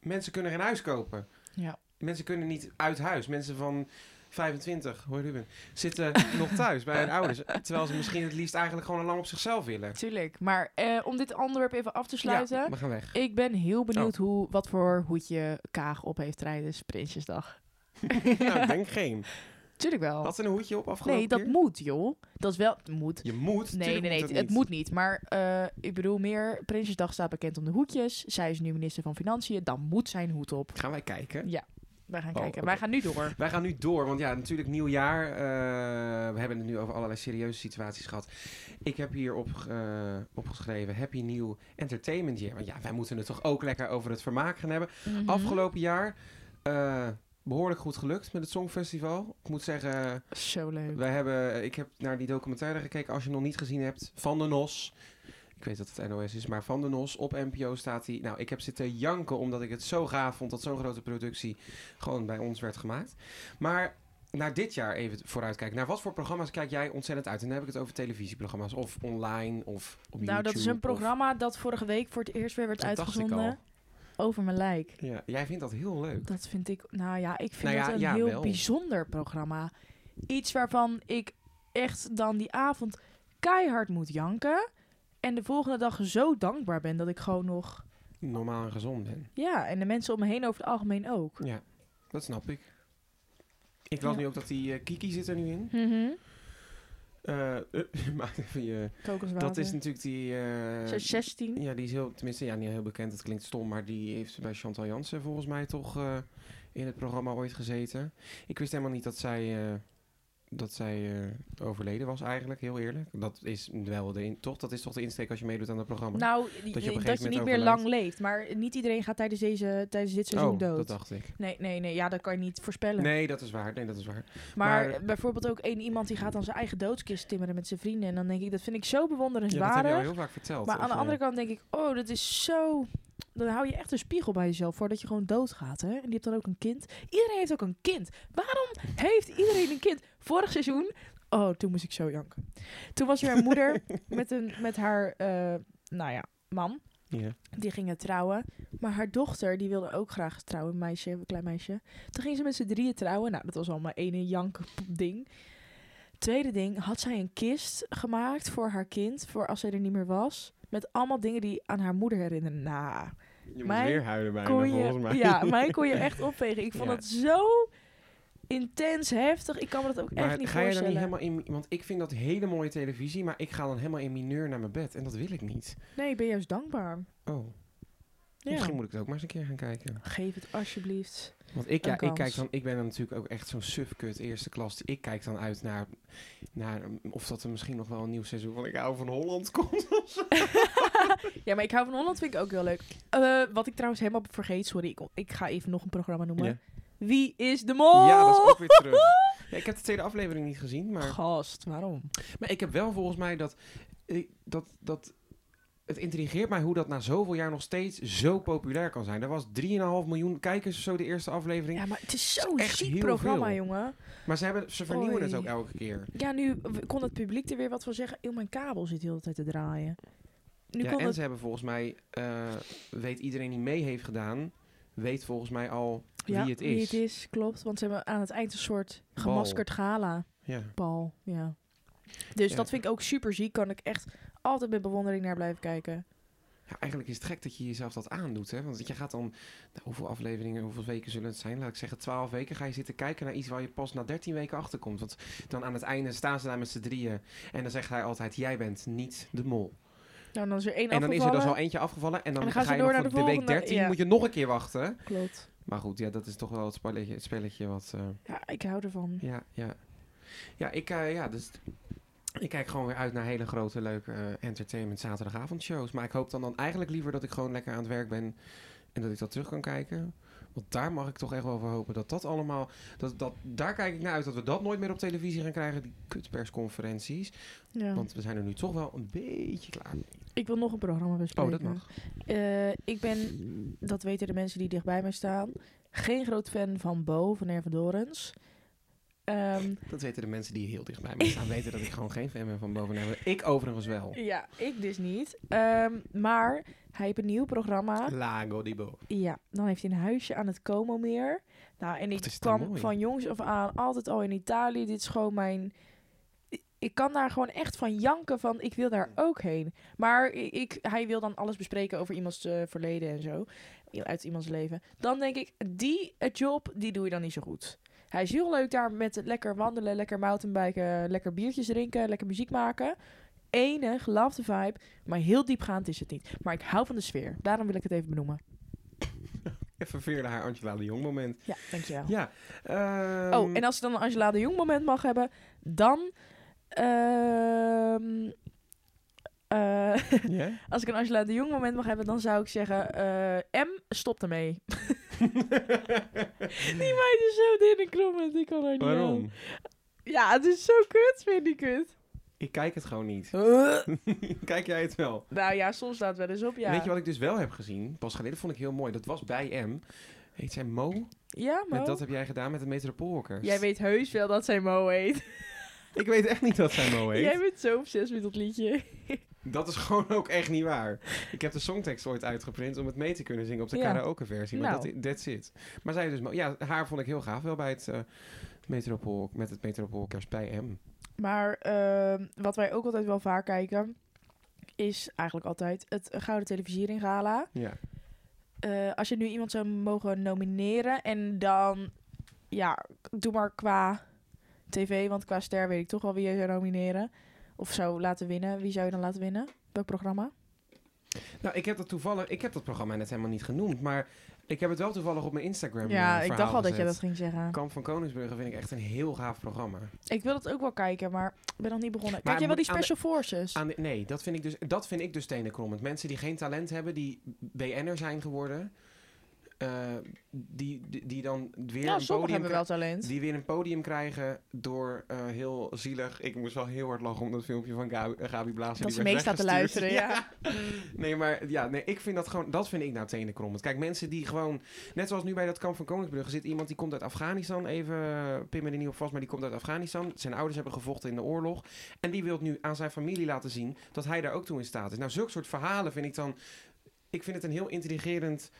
mensen kunnen geen huis kopen. Ja. Mensen kunnen niet uit huis. Mensen van 25, hoor Ruben, zitten nog thuis bij hun ouders. Terwijl ze misschien het liefst eigenlijk gewoon al lang op zichzelf willen. Tuurlijk, maar eh, om dit onderwerp even af te sluiten. Ja, we gaan weg. Ik ben heel benieuwd hoe, wat voor hoedje Kaag op heeft tijdens Prinsjesdag. nou, ik denk geen. Tuurlijk wel. Had ze een hoedje op afgelopen Oh. nee, dat keer? moet, joh. Dat is wel... Het moet. Je moet. Nee, tuurlijk nee, nee. moet Het, dat niet. moet niet. Maar eh, ik bedoel meer, Prinsjesdag staat bekend om de hoedjes. Zij is nu minister van Financiën. Dan moet zijn hoed op. Gaan wij kijken. Ja. We Wij gaan Oh, kijken. oké. Wij gaan nu door. Wij gaan nu door, want ja, natuurlijk nieuwjaar. eh, we hebben het nu over allerlei serieuze situaties gehad. Ik heb hier op, eh, opgeschreven Happy New Entertainment Year. Want ja, wij moeten het toch ook lekker over het vermaak gaan hebben. Mhm. Afgelopen jaar eh, behoorlijk goed gelukt met het Songfestival. Ik moet zeggen, Zo leuk. wij hebben, eh, ik heb naar die documentaire gekeken. Als je hem nog niet gezien hebt, Van de Nos. Ik weet dat het NOS is, maar Van de Nos op NPO staat hij. Nou, ik heb zitten janken omdat ik het zo gaaf vond dat zo'n grote productie gewoon bij ons werd gemaakt. Maar naar dit jaar even vooruitkijken. Naar wat voor programma's kijk jij ontzettend uit? En dan heb ik het over televisieprogramma's of online of op YouTube. Nou, dat is een of- programma dat vorige week voor het eerst weer werd Dat dacht ik uitgezonden. Over mijn lijk. Ja, jij vindt dat heel leuk. Dat vind ik, nou ja, ik vind Nou ja, het een ja, heel wel. bijzonder programma. Iets waarvan ik echt dan die avond keihard moet janken. En de volgende dag zo dankbaar ben dat ik gewoon nog. Normaal en gezond ben. Ja, en de mensen om me heen over het algemeen ook. Ja, dat snap ik. Ik las Ja. nu ook dat die eh, Kiki zit er nu in. Mhm. Eh maak even je... Kokoswater. Dat is natuurlijk die... eh, Ze is 16. ja, die is heel... Tenminste, ja, niet heel bekend. Dat klinkt stom. Maar die heeft bij Chantal Jansen volgens mij toch eh, in het programma ooit gezeten. Ik wist helemaal niet dat zij... eh, dat zij eh, overleden was eigenlijk, heel eerlijk. Dat is wel de... in- toch? Dat is toch de insteek als je meedoet aan het programma? Nou, dat je, gegeven dat moment je niet meer overlijdt. lang leeft. Maar niet iedereen gaat tijdens, deze, tijdens dit seizoen oh, dood. dat dacht ik. Nee, nee, nee. Ja, dat kan je niet voorspellen. Nee, dat is waar. Nee, dat is waar. Maar, Maar- bijvoorbeeld ook één iemand die gaat dan zijn eigen doodskist timmeren met zijn vrienden. En dan denk ik, dat vind ik zo Ja, dat heb je al bewonderenswaardig. heel vaak verteld. maar aan Of, de eh, andere kant denk ik, oh, dat is zo... Dan hou je echt een spiegel bij jezelf voordat je gewoon doodgaat, hè? En die hebt dan ook een kind. Iedereen heeft ook een kind. Waarom heeft iedereen een kind? Vorig seizoen, oh, toen moest ik zo janken. Toen was er een moeder met, een, met haar, eh, nou ja, man. ja. Die gingen trouwen. Maar haar dochter, die wilde ook graag trouwen. Een meisje, een klein meisje. Toen gingen ze met z'n drieën trouwen. Nou, dat was allemaal ene jank ding. Tweede ding, had zij een kist gemaakt voor haar kind. Voor als zij er niet meer was. Met allemaal dingen die aan haar moeder herinneren. Nou, Je moet Mij weer huilen bijna, kon volgens je, mij. ja, mij kon je echt opvegen. Ik vond Ja. dat zo intens, heftig. Ik kan me dat ook Maar echt niet ga je dan voorstellen. niet helemaal in... Want ik vind dat hele mooie televisie, maar ik ga dan helemaal in mineur naar mijn bed. En dat wil ik niet. Nee, ik ben juist dankbaar. Oh, Ja. misschien moet ik het ook maar eens een keer gaan kijken. Geef het alsjeblieft. Want ik, Een ja, ik, kans. kijk dan, ik ben dan natuurlijk ook echt zo'n sufkut eerste klas. Ik kijk dan uit naar, naar um, of dat er misschien nog wel een nieuw seizoen van Ik hou van Holland komt. Ja, maar ik hou van Holland, vind ik ook heel leuk. Eh, wat ik trouwens helemaal vergeet, sorry, ik, ik ga even nog een programma noemen. Ja. Wie is de mol? Ja, dat is ook weer terug. Ja, ik heb de tweede aflevering niet gezien, maar, Gast, waarom? maar ik heb wel volgens mij dat, ik- dat, dat... Het intrigeert mij hoe dat na zoveel jaar nog steeds zo populair kan zijn. Er was 3,5 miljoen kijkers of zo de eerste aflevering. Ja, maar het is zo'n Het is echt ziek heel programma, veel. jongen. Maar ze, hebben, ze vernieuwen het Oei. ook elke keer. Ja, nu w- kon het publiek er weer wat van zeggen. Eeuw, mijn kabel zit de hele tijd te draaien. Nu ja, kon en het... ze hebben volgens mij, eh, weet iedereen die mee heeft gedaan, weet volgens mij al wie ja, het is. Wie het is, klopt. Want ze hebben aan het eind een soort gemaskerd gala. Ja. Bal, ja. Dus Ja. dat vind ik ook super ziek. Kan ik echt altijd met bewondering naar blijven kijken. Ja, eigenlijk is het gek dat je jezelf dat aandoet, hè? Want je gaat dan, nou, hoeveel afleveringen, hoeveel weken zullen het zijn? Laat ik zeggen, twaalf weken ga je zitten kijken naar iets waar je pas na dertien weken achterkomt. Want dan aan het einde staan ze daar met z'n drieën en dan zegt hij altijd, jij bent niet de mol. Nou, dan is er één En dan is er dus afgevallen. al eentje afgevallen en dan, En dan gaan ga ze je door nog naar voor de de week volgende, dertien, ja. moet je nog een keer wachten. Klopt. Maar goed, ja, dat is toch wel het spelletje, het spelletje wat... eh, Ja, ik hou ervan. Ja, ja. Ja, ik, eh, ja, dus ik kijk gewoon weer uit naar hele grote, leuke eh, entertainment zaterdagavondshows. Maar ik hoop dan, dan eigenlijk liever dat ik gewoon lekker aan het werk ben en dat ik dat terug kan kijken. Want daar mag ik toch echt wel voor hopen dat dat allemaal... Dat, dat, daar kijk ik naar uit dat we dat nooit meer op televisie gaan krijgen, die kutpersconferenties. Ja. Want we zijn er nu toch wel een beetje klaar mee. Ik wil nog een programma Oh, bespreken. dat mag. Eh, ik ben, dat weten de mensen die dichtbij mij staan, geen groot fan van Bo van Erve Dorens. Ehm, Dat weten de mensen die heel dichtbij mij staan, weten dat ik gewoon geen fan ben van bovenaan. Ik overigens wel. ja, ik dus niet. Ehm, maar hij heeft een nieuw programma. Lago di Bo. Ja, dan heeft hij een huisje aan het Como meer. Nou, en Wat ik is dat kwam mooi. van jongs af aan altijd al in Italië. Dit is gewoon mijn... Ik kan daar gewoon echt van janken van, ik wil daar ook heen. Maar i- ik, hij wil dan alles bespreken over iemands eh, verleden en zo. I- Uit iemands leven. Dan denk ik, die eh, job, die doe je dan niet zo goed. Hij is heel leuk daar met het lekker wandelen, lekker mountainbiken, lekker biertjes drinken, lekker muziek maken. Enig, love the vibe. Maar heel diepgaand is het niet. Maar ik hou van de sfeer. Daarom wil ik het even benoemen. Oké. verveerde haar Angela de Jong moment. Ja, dankjewel. Ja. Oh, ehm, en als ze dan een Angela de Jong moment mag hebben, dan... ehm, eh, ja? als ik een Angela de Jong moment mag hebben, dan zou ik zeggen... eh, M, stop ermee. Mm. Die meid is zo dun en krom en die kan haar niet aan. Waarom? Ja, het is zo kut, vind ik het. Ik kijk het gewoon niet. kijk jij het wel? Nou ja, soms staat wel eens op, ja. Weet je wat ik dus wel heb gezien? Pas geleden vond ik heel mooi. Dat was bij M. Heet zij Mo? Ja, Mo. Met dat heb jij gedaan met de Metropoolworkers. Jij weet heus wel dat zij Mo heet. Ik weet echt niet dat zij Mo heet. Jij bent zo obsessief met dat liedje. Dat is gewoon ook echt niet waar. Ik heb de songtekst ooit uitgeprint om het mee te kunnen zingen op de Ja. karaoke-versie. Maar Nou. dat, that's it. Maar zij dus... Ja, haar vond ik heel gaaf wel bij het... eh, Metropool, met het Metropoolkers bij M. Maar ehm, wat wij ook altijd wel vaak kijken, is eigenlijk altijd het Gouden Televisiering Gala. Ja. Eh, als je nu iemand zou mogen nomineren en dan, ja, doe maar qua tv, want qua ster weet ik toch wel wie je zou nomineren. Of zou laten winnen. Wie zou je dan laten winnen? Welk programma? Nou, ik heb dat toevallig... Ik heb dat programma net helemaal niet genoemd, maar... Ik heb het wel toevallig op mijn Instagram ja, ik dacht al al dat je dat ging zeggen. Kamp van Koningsbrugge vind ik echt een heel gaaf programma. Ik wil het ook wel kijken, maar ik ben nog niet begonnen. Maar Kijk jij wel die moet aan de- Special Forces? Aan de- nee, dat vind ik dus, dat vind ik dus tenenkrommend. Mensen die geen talent hebben, die BN'er zijn geworden, eh, die, die, die dan weer ja, sommigen een podium hebben kri- wel talent. die weer een podium krijgen door eh, heel zielig. Ik moest wel heel hard lachen om dat filmpje van Gabi, eh, Gabi Blaas. Dat die ze werd mee staat te weggestuurd. luisteren, ja. Nee, maar ja, nee, ik vind dat gewoon, dat vind ik nou tenenkrommend. Kijk, mensen die gewoon, net zoals nu bij dat kamp van Koningsbrugge zit iemand die komt uit Afghanistan, even eh, pin me er niet op vast, maar die komt uit Afghanistan. Zijn ouders hebben gevochten in de oorlog en die wil nu aan zijn familie laten zien dat hij daar ook toe in staat is. Nou, zulke soort verhalen vind ik dan, ik vind het een heel intrigerend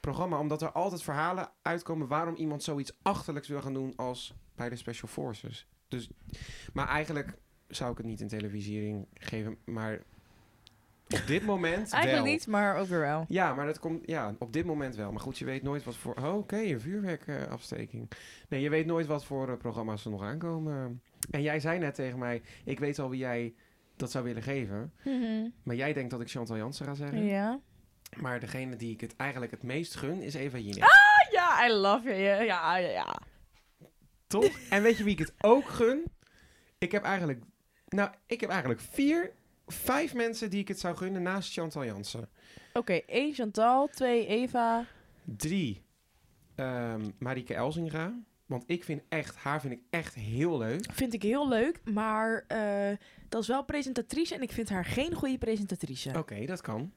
programma, omdat er altijd verhalen uitkomen waarom iemand zoiets achterlijks wil gaan doen als bij de Special Forces. Dus, maar eigenlijk zou ik het niet in televisiering geven, maar op dit moment Eigenlijk wel. niet, maar ook weer wel. Ja, maar dat komt ja, op dit moment wel. Maar goed, je weet nooit wat voor... Oh, oké, een vuurwerkafsteking. nee, je weet nooit wat voor eh, programma's er nog aankomen. En jij zei net tegen mij, ik weet al wie jij dat zou willen geven. Mhm. Maar jij denkt dat ik Chantal Jansen ga zeggen. Ja. Maar degene die ik het eigenlijk het meest gun is Eva Jinek. Ah, ja, I love you. Ja, ja, ja. ja. Toch? En weet je wie ik het ook gun? Ik heb eigenlijk... Nou, ik heb eigenlijk vier, vijf mensen die ik het zou gunnen naast Chantal Jansen. Oké, één Chantal, twee Eva. Drie, ehm Marike Elzinga. Want ik vind echt, haar vind ik echt heel leuk. Vind ik heel leuk, maar eh, dat is wel presentatrice en ik vind haar geen goede presentatrice. Oké, dat kan.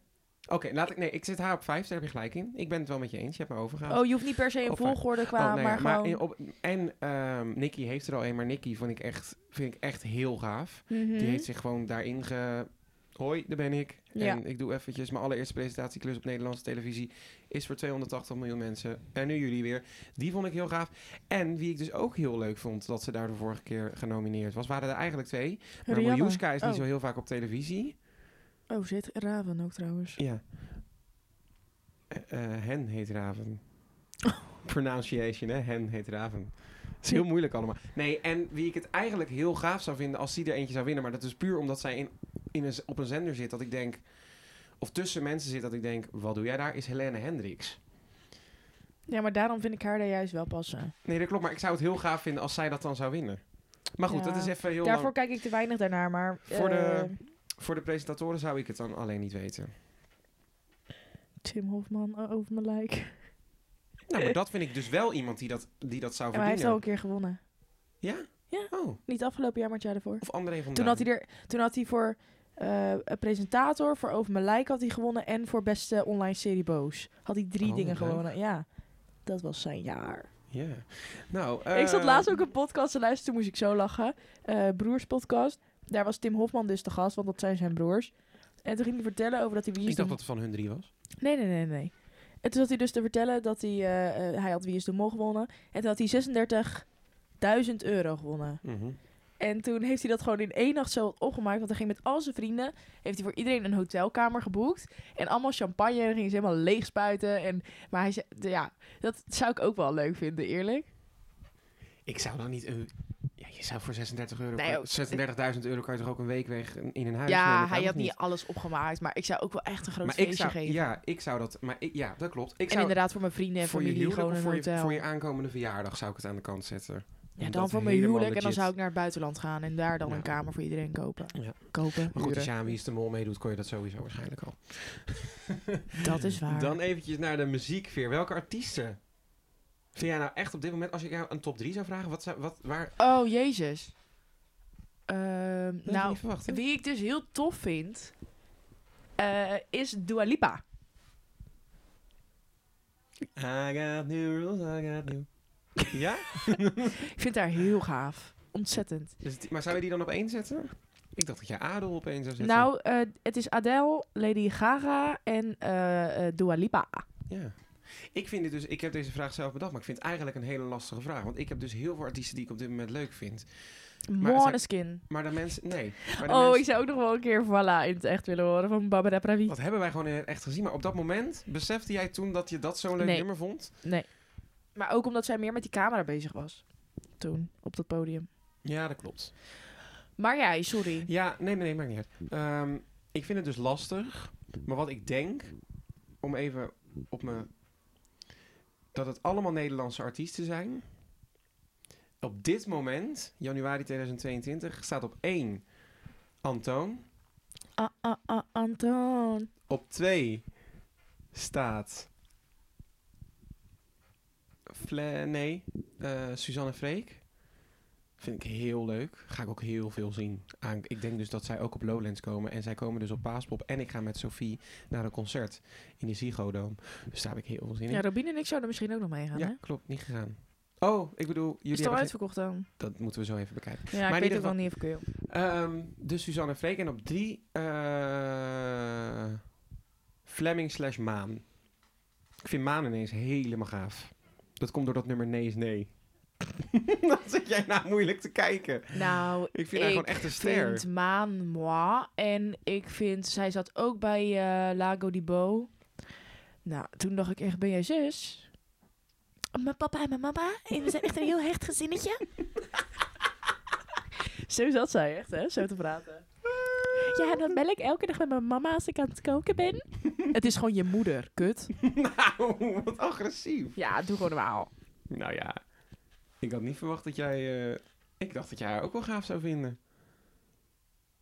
Oké, laat ik... Nee, ik zit haar op vijf, daar heb je gelijk in. Ik ben het wel met je eens, je hebt me overgehaald. Oh, je hoeft niet per se een Of- volgorde qua, Oh, nee, maar gewoon... in- op, en ehm Nicky heeft er al een, maar Nicky vond ik echt, vind ik echt heel gaaf. Mhm. Die heeft zich gewoon daarin ge... Hoi, daar ben ik. Ja. En ik doe eventjes mijn allereerste presentatieklus op Nederlandse televisie. Is voor 280 miljoen mensen. En nu jullie weer. Die vond ik heel gaaf. En wie ik dus ook heel leuk vond dat ze daar de vorige keer genomineerd was, waren er eigenlijk twee. Maar Rihanna. Miljuska is niet Oh. zo heel vaak op televisie. Oh, zit Raven ook trouwens. Ja. Eh, eh, hen heet Raven. Oh. Pronunciation, hè? Hen heet Raven. Het is heel moeilijk allemaal. Nee, en wie ik het eigenlijk heel gaaf zou vinden als die er eentje zou winnen. Maar dat is puur omdat zij in, in een, z- op een zender zit dat ik denk... Of tussen mensen zit dat ik denk, wat doe jij daar? Is Helene Hendricks. Ja, maar daarom vind ik haar daar juist wel passen. Nee, dat klopt. Maar ik zou het heel gaaf vinden als zij dat dan zou winnen. Maar goed, Ja. dat is even heel Daarvoor lang. kijk ik te weinig daarnaar, maar... Voor de- eh, Voor de presentatoren zou ik het dan alleen niet weten. Tim Hofman eh, over mijn lijk. Ja, Nou, maar dat vind ik dus wel iemand die dat, die dat zou Eh. maar hij heeft al verdienen. een keer gewonnen. Oh, Niet afgelopen jaar, maar het jaar daarvoor. of André Toen van Duin. had hij, er, toen had hij voor eh, een presentator, voor Over mijn lijk had hij gewonnen en voor beste online serie Boos. Had hij drie Oh, dingen leuk. gewonnen. Ja, dat was zijn jaar. Ja. Nou, ik zat eh, laatst ook een podcast te luisteren, toen moest ik zo lachen. Eh broerspodcast. Daar was Tim Hofman dus de gast, want dat zijn zijn broers. En toen ging hij vertellen over dat hij Wie is Ik dacht de dat het van hun drie was. Mol- Nee, nee, nee, nee. En toen zat hij dus te vertellen dat hij, eh, eh, hij had Wie is de Mol gewonnen. En toen had hij 36.000 euro gewonnen. En toen heeft hij dat gewoon in één nacht zo opgemaakt. Want hij ging met al zijn vrienden. Heeft hij voor iedereen een hotelkamer geboekt. En allemaal champagne. En dan gingen ze helemaal leeg spuiten. En, maar hij zei, ja, dat zou ik ook wel leuk vinden, eerlijk. Ik zou dan niet een... Ja, je Je zou voor 36 euro, Nee, kan- ook- 36.000 euro kan je toch ook een week weg in een huis nemen? ja, Dat kan hij had toch niet. alles opgemaakt, maar ik zou ook wel echt een groot Maar ik feestje zou, geven. ja, ik zou dat, maar ik- ja, dat klopt. Ik en zou inderdaad voor mijn vrienden en voor je familie huwelijk gewoon of een voor hotel. je, voor je aankomende verjaardag zou ik het aan de kant zetten. ja, Om dan dat voor mijn helemaal huwelijk en dan legit- zou ik naar het buitenland gaan en daar dan Ja. een kamer voor iedereen kopen. Ja. Kopen, Maar goed, dus als huren. je aan Wie is de Mol meedoet, kon je dat sowieso waarschijnlijk al. dat is waar. Dan eventjes naar de muziekveer. Welke artiesten? Vind jij nou echt op dit moment, als ik jou een top 3 zou vragen, wat zou, wat, waar... Oh, jezus. Ehm, Dat had ik nou, niet verwacht, hè? wie ik dus heel tof vind, eh, is Dua Lipa. I got new rules, I got new... ja? Ik vind haar heel gaaf. Ontzettend. Dus die- maar zou je die dan op één zetten? Ik dacht dat je Adel op één zou zetten. Nou, eh, het is Adele, Lady Gaga en eh eh, Dua Lipa. Ja. Ik vind het dus, ik heb deze vraag zelf bedacht, maar ik vind het eigenlijk een hele lastige vraag. Want ik heb dus heel veel artiesten die ik op dit moment leuk vind. Måneskin. Maar de mensen, nee. Maar de Oh, mensen- ik zou ook nog wel een keer voilà in het echt willen horen van Barbara Pravi. Dat hebben wij gewoon in het echt gezien. Maar op dat moment, besefte jij toen dat je dat zo'n leuk Nee. nummer vond? Maar ook omdat zij meer met die camera bezig was. Toen, op dat podium. Ja, dat klopt. Maar jij, sorry. Ja, nee, nee, nee, maakt niet uit. Ehm, ik vind het dus lastig. Maar wat ik denk, om even op me... Dat het allemaal Nederlandse artiesten zijn. Op dit moment, januari 2022, staat op één Antoon. Ah, ah, ah, Anton. Op twee staat... Fle nee, eh, Suzanne Freek. Vind ik heel leuk. Ga ik ook heel veel zien. Aan, ik denk dus dat zij ook op Lowlands komen. En zij komen dus op Paaspop. En ik ga met Sophie naar een concert in de Ziggo Dome. Dus daar heb ik heel veel zin Ja, in. Robin en ik zouden misschien ook nog meegaan, hè? Ja, klopt. Niet gegaan. Oh, ik bedoel, Is jullie het al hebben... uitverkocht dan? geen- Dat moeten we zo even bekijken. Ja, ik in weet ieder ook wel niet of ik wil. Ehm, dus Suzanne Freek. En op drie... eh Fleming slash Maan. Ik vind Maan ineens helemaal gaaf. Dat komt door dat nummer Nee is Nee. Dan zit jij nou moeilijk te kijken. Nou, Ik vind haar gewoon echt een ster. vind Maan moi. En ik vind, zij zat ook bij eh, Lago di Bo. Nou, toen dacht ik echt, ben jij zus? Oh, Mijn papa en mijn mama. En we zijn echt een heel hecht gezinnetje. Zo zat zij echt, hè? Zo te praten. Ja, dan bel ik elke dag met mijn mama als ik aan het koken ben. Het is gewoon je moeder, kut. nou, wat agressief. Ja, doe gewoon normaal. Nou ja, ik had niet verwacht dat jij... eh, ik dacht dat jij haar ook wel gaaf zou vinden.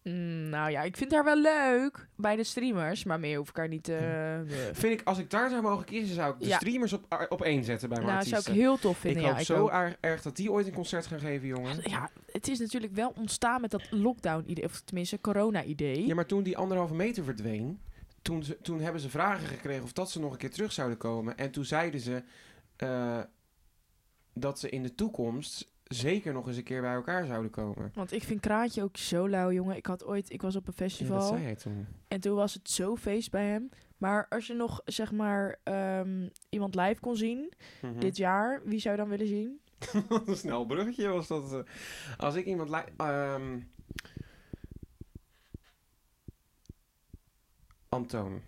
Mm, nou ja, ik vind haar wel leuk bij de streamers, maar meer hoef ik haar niet eh, te... Hm. Vind ik, als ik daar zou mogen kiezen, zou ik de Ja. streamers op, op één zetten bij mijn Nou, artiesten. zou ik heel tof ik vinden. hoop ja, ik zo ook. aar- erg dat die ooit een concert gaan geven, jongen. Ja, het is natuurlijk wel ontstaan met dat lockdown-idee, of tenminste corona-idee. Ja, maar toen die anderhalve meter verdween, toen, ze, toen hebben ze vragen gekregen of dat ze nog een keer terug zouden komen. En toen zeiden ze eh, dat ze in de toekomst zeker nog eens een keer bij elkaar zouden komen. Want ik vind Kraantje ook zo lauw, jongen. Ik had ooit, ik was op een Ja, dat festival zei hij toen. en toen was het zo feest bij hem. Maar als je nog, zeg maar, ehm, iemand live kon zien Mhm. dit jaar, wie zou je dan willen zien? Wat een snel bruggetje was dat. eh. Als ik iemand... li- ehm Antoon.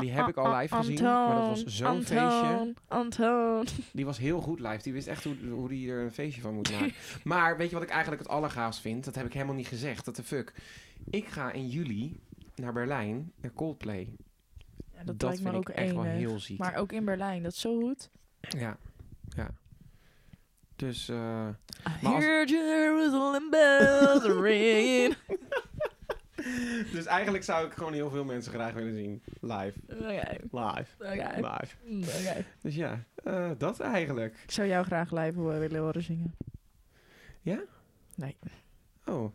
Die heb ik al live gezien, maar dat was zo'n feestje. Antoon. Die was heel goed live. Die wist echt hoe hij er een feestje van moet maken. maar weet je wat ik eigenlijk het allergaafst vind? Dat heb ik helemaal niet gezegd. Dat de fuck. Ik ga in juli naar Berlijn naar Coldplay. Ja, dat, Dat, lijkt vind me ook ik echt wel enig. heel ziek. Maar ook in Berlijn, dat is zo goed. Ja. ja. Dus... eh, I Maar als- hear Jerusalem bells ring. dus eigenlijk zou ik gewoon heel veel mensen graag willen zien. Live. Oké, Live. oké, Live. oké. Dus ja, eh, dat eigenlijk. Ik zou jou graag live ho- willen horen zingen. Oh.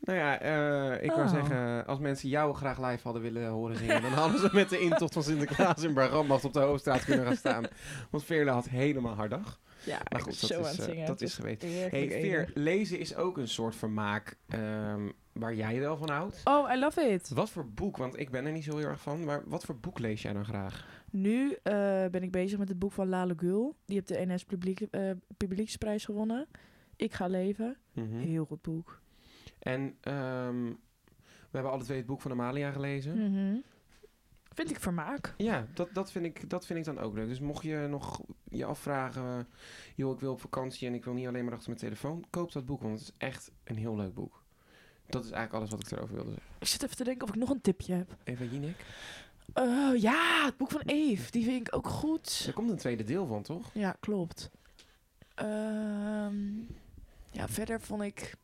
nou ja, eh, ik wou Oh. zeggen, als mensen jou graag live hadden willen horen zingen, dan hadden ze met de intocht van Sinterklaas in Bergambacht op de Hoofdstraat kunnen gaan staan. Want Veerle had helemaal haar dag. Ja, Maar goed, dat is, eh, dat is geweten. Hey, Hey, Veer, lezen is ook een soort vermaak ehm, waar jij wel van houdt. Oh, I love it. Wat voor boek, want ik ben er niet zo heel erg van, maar wat voor boek lees jij dan graag? Nu eh, ben ik bezig met het boek van Lale Gul. Die heeft de NS publiek, eh, Publieksprijs gewonnen. Ik ga leven. Hm? Heel goed boek. En ehm, we hebben alle twee het boek van Amalia gelezen. Mhm. vind ik vermaak. Ja, dat, dat, vind ik, dat vind ik dan ook leuk. Dus mocht je nog je afvragen, eh, joh, ik wil op vakantie en ik wil niet alleen maar achter mijn telefoon, koop dat boek, want het is echt een heel leuk boek. Dat is eigenlijk alles wat ik erover wilde zeggen. Ik zit even te denken of ik nog een tipje heb. Eva Jinek, Oh ja, het boek van Eve. Die vind ik ook goed. er komt een tweede deel van, toch? Ja, klopt. Ehm, ja, verder vond ik...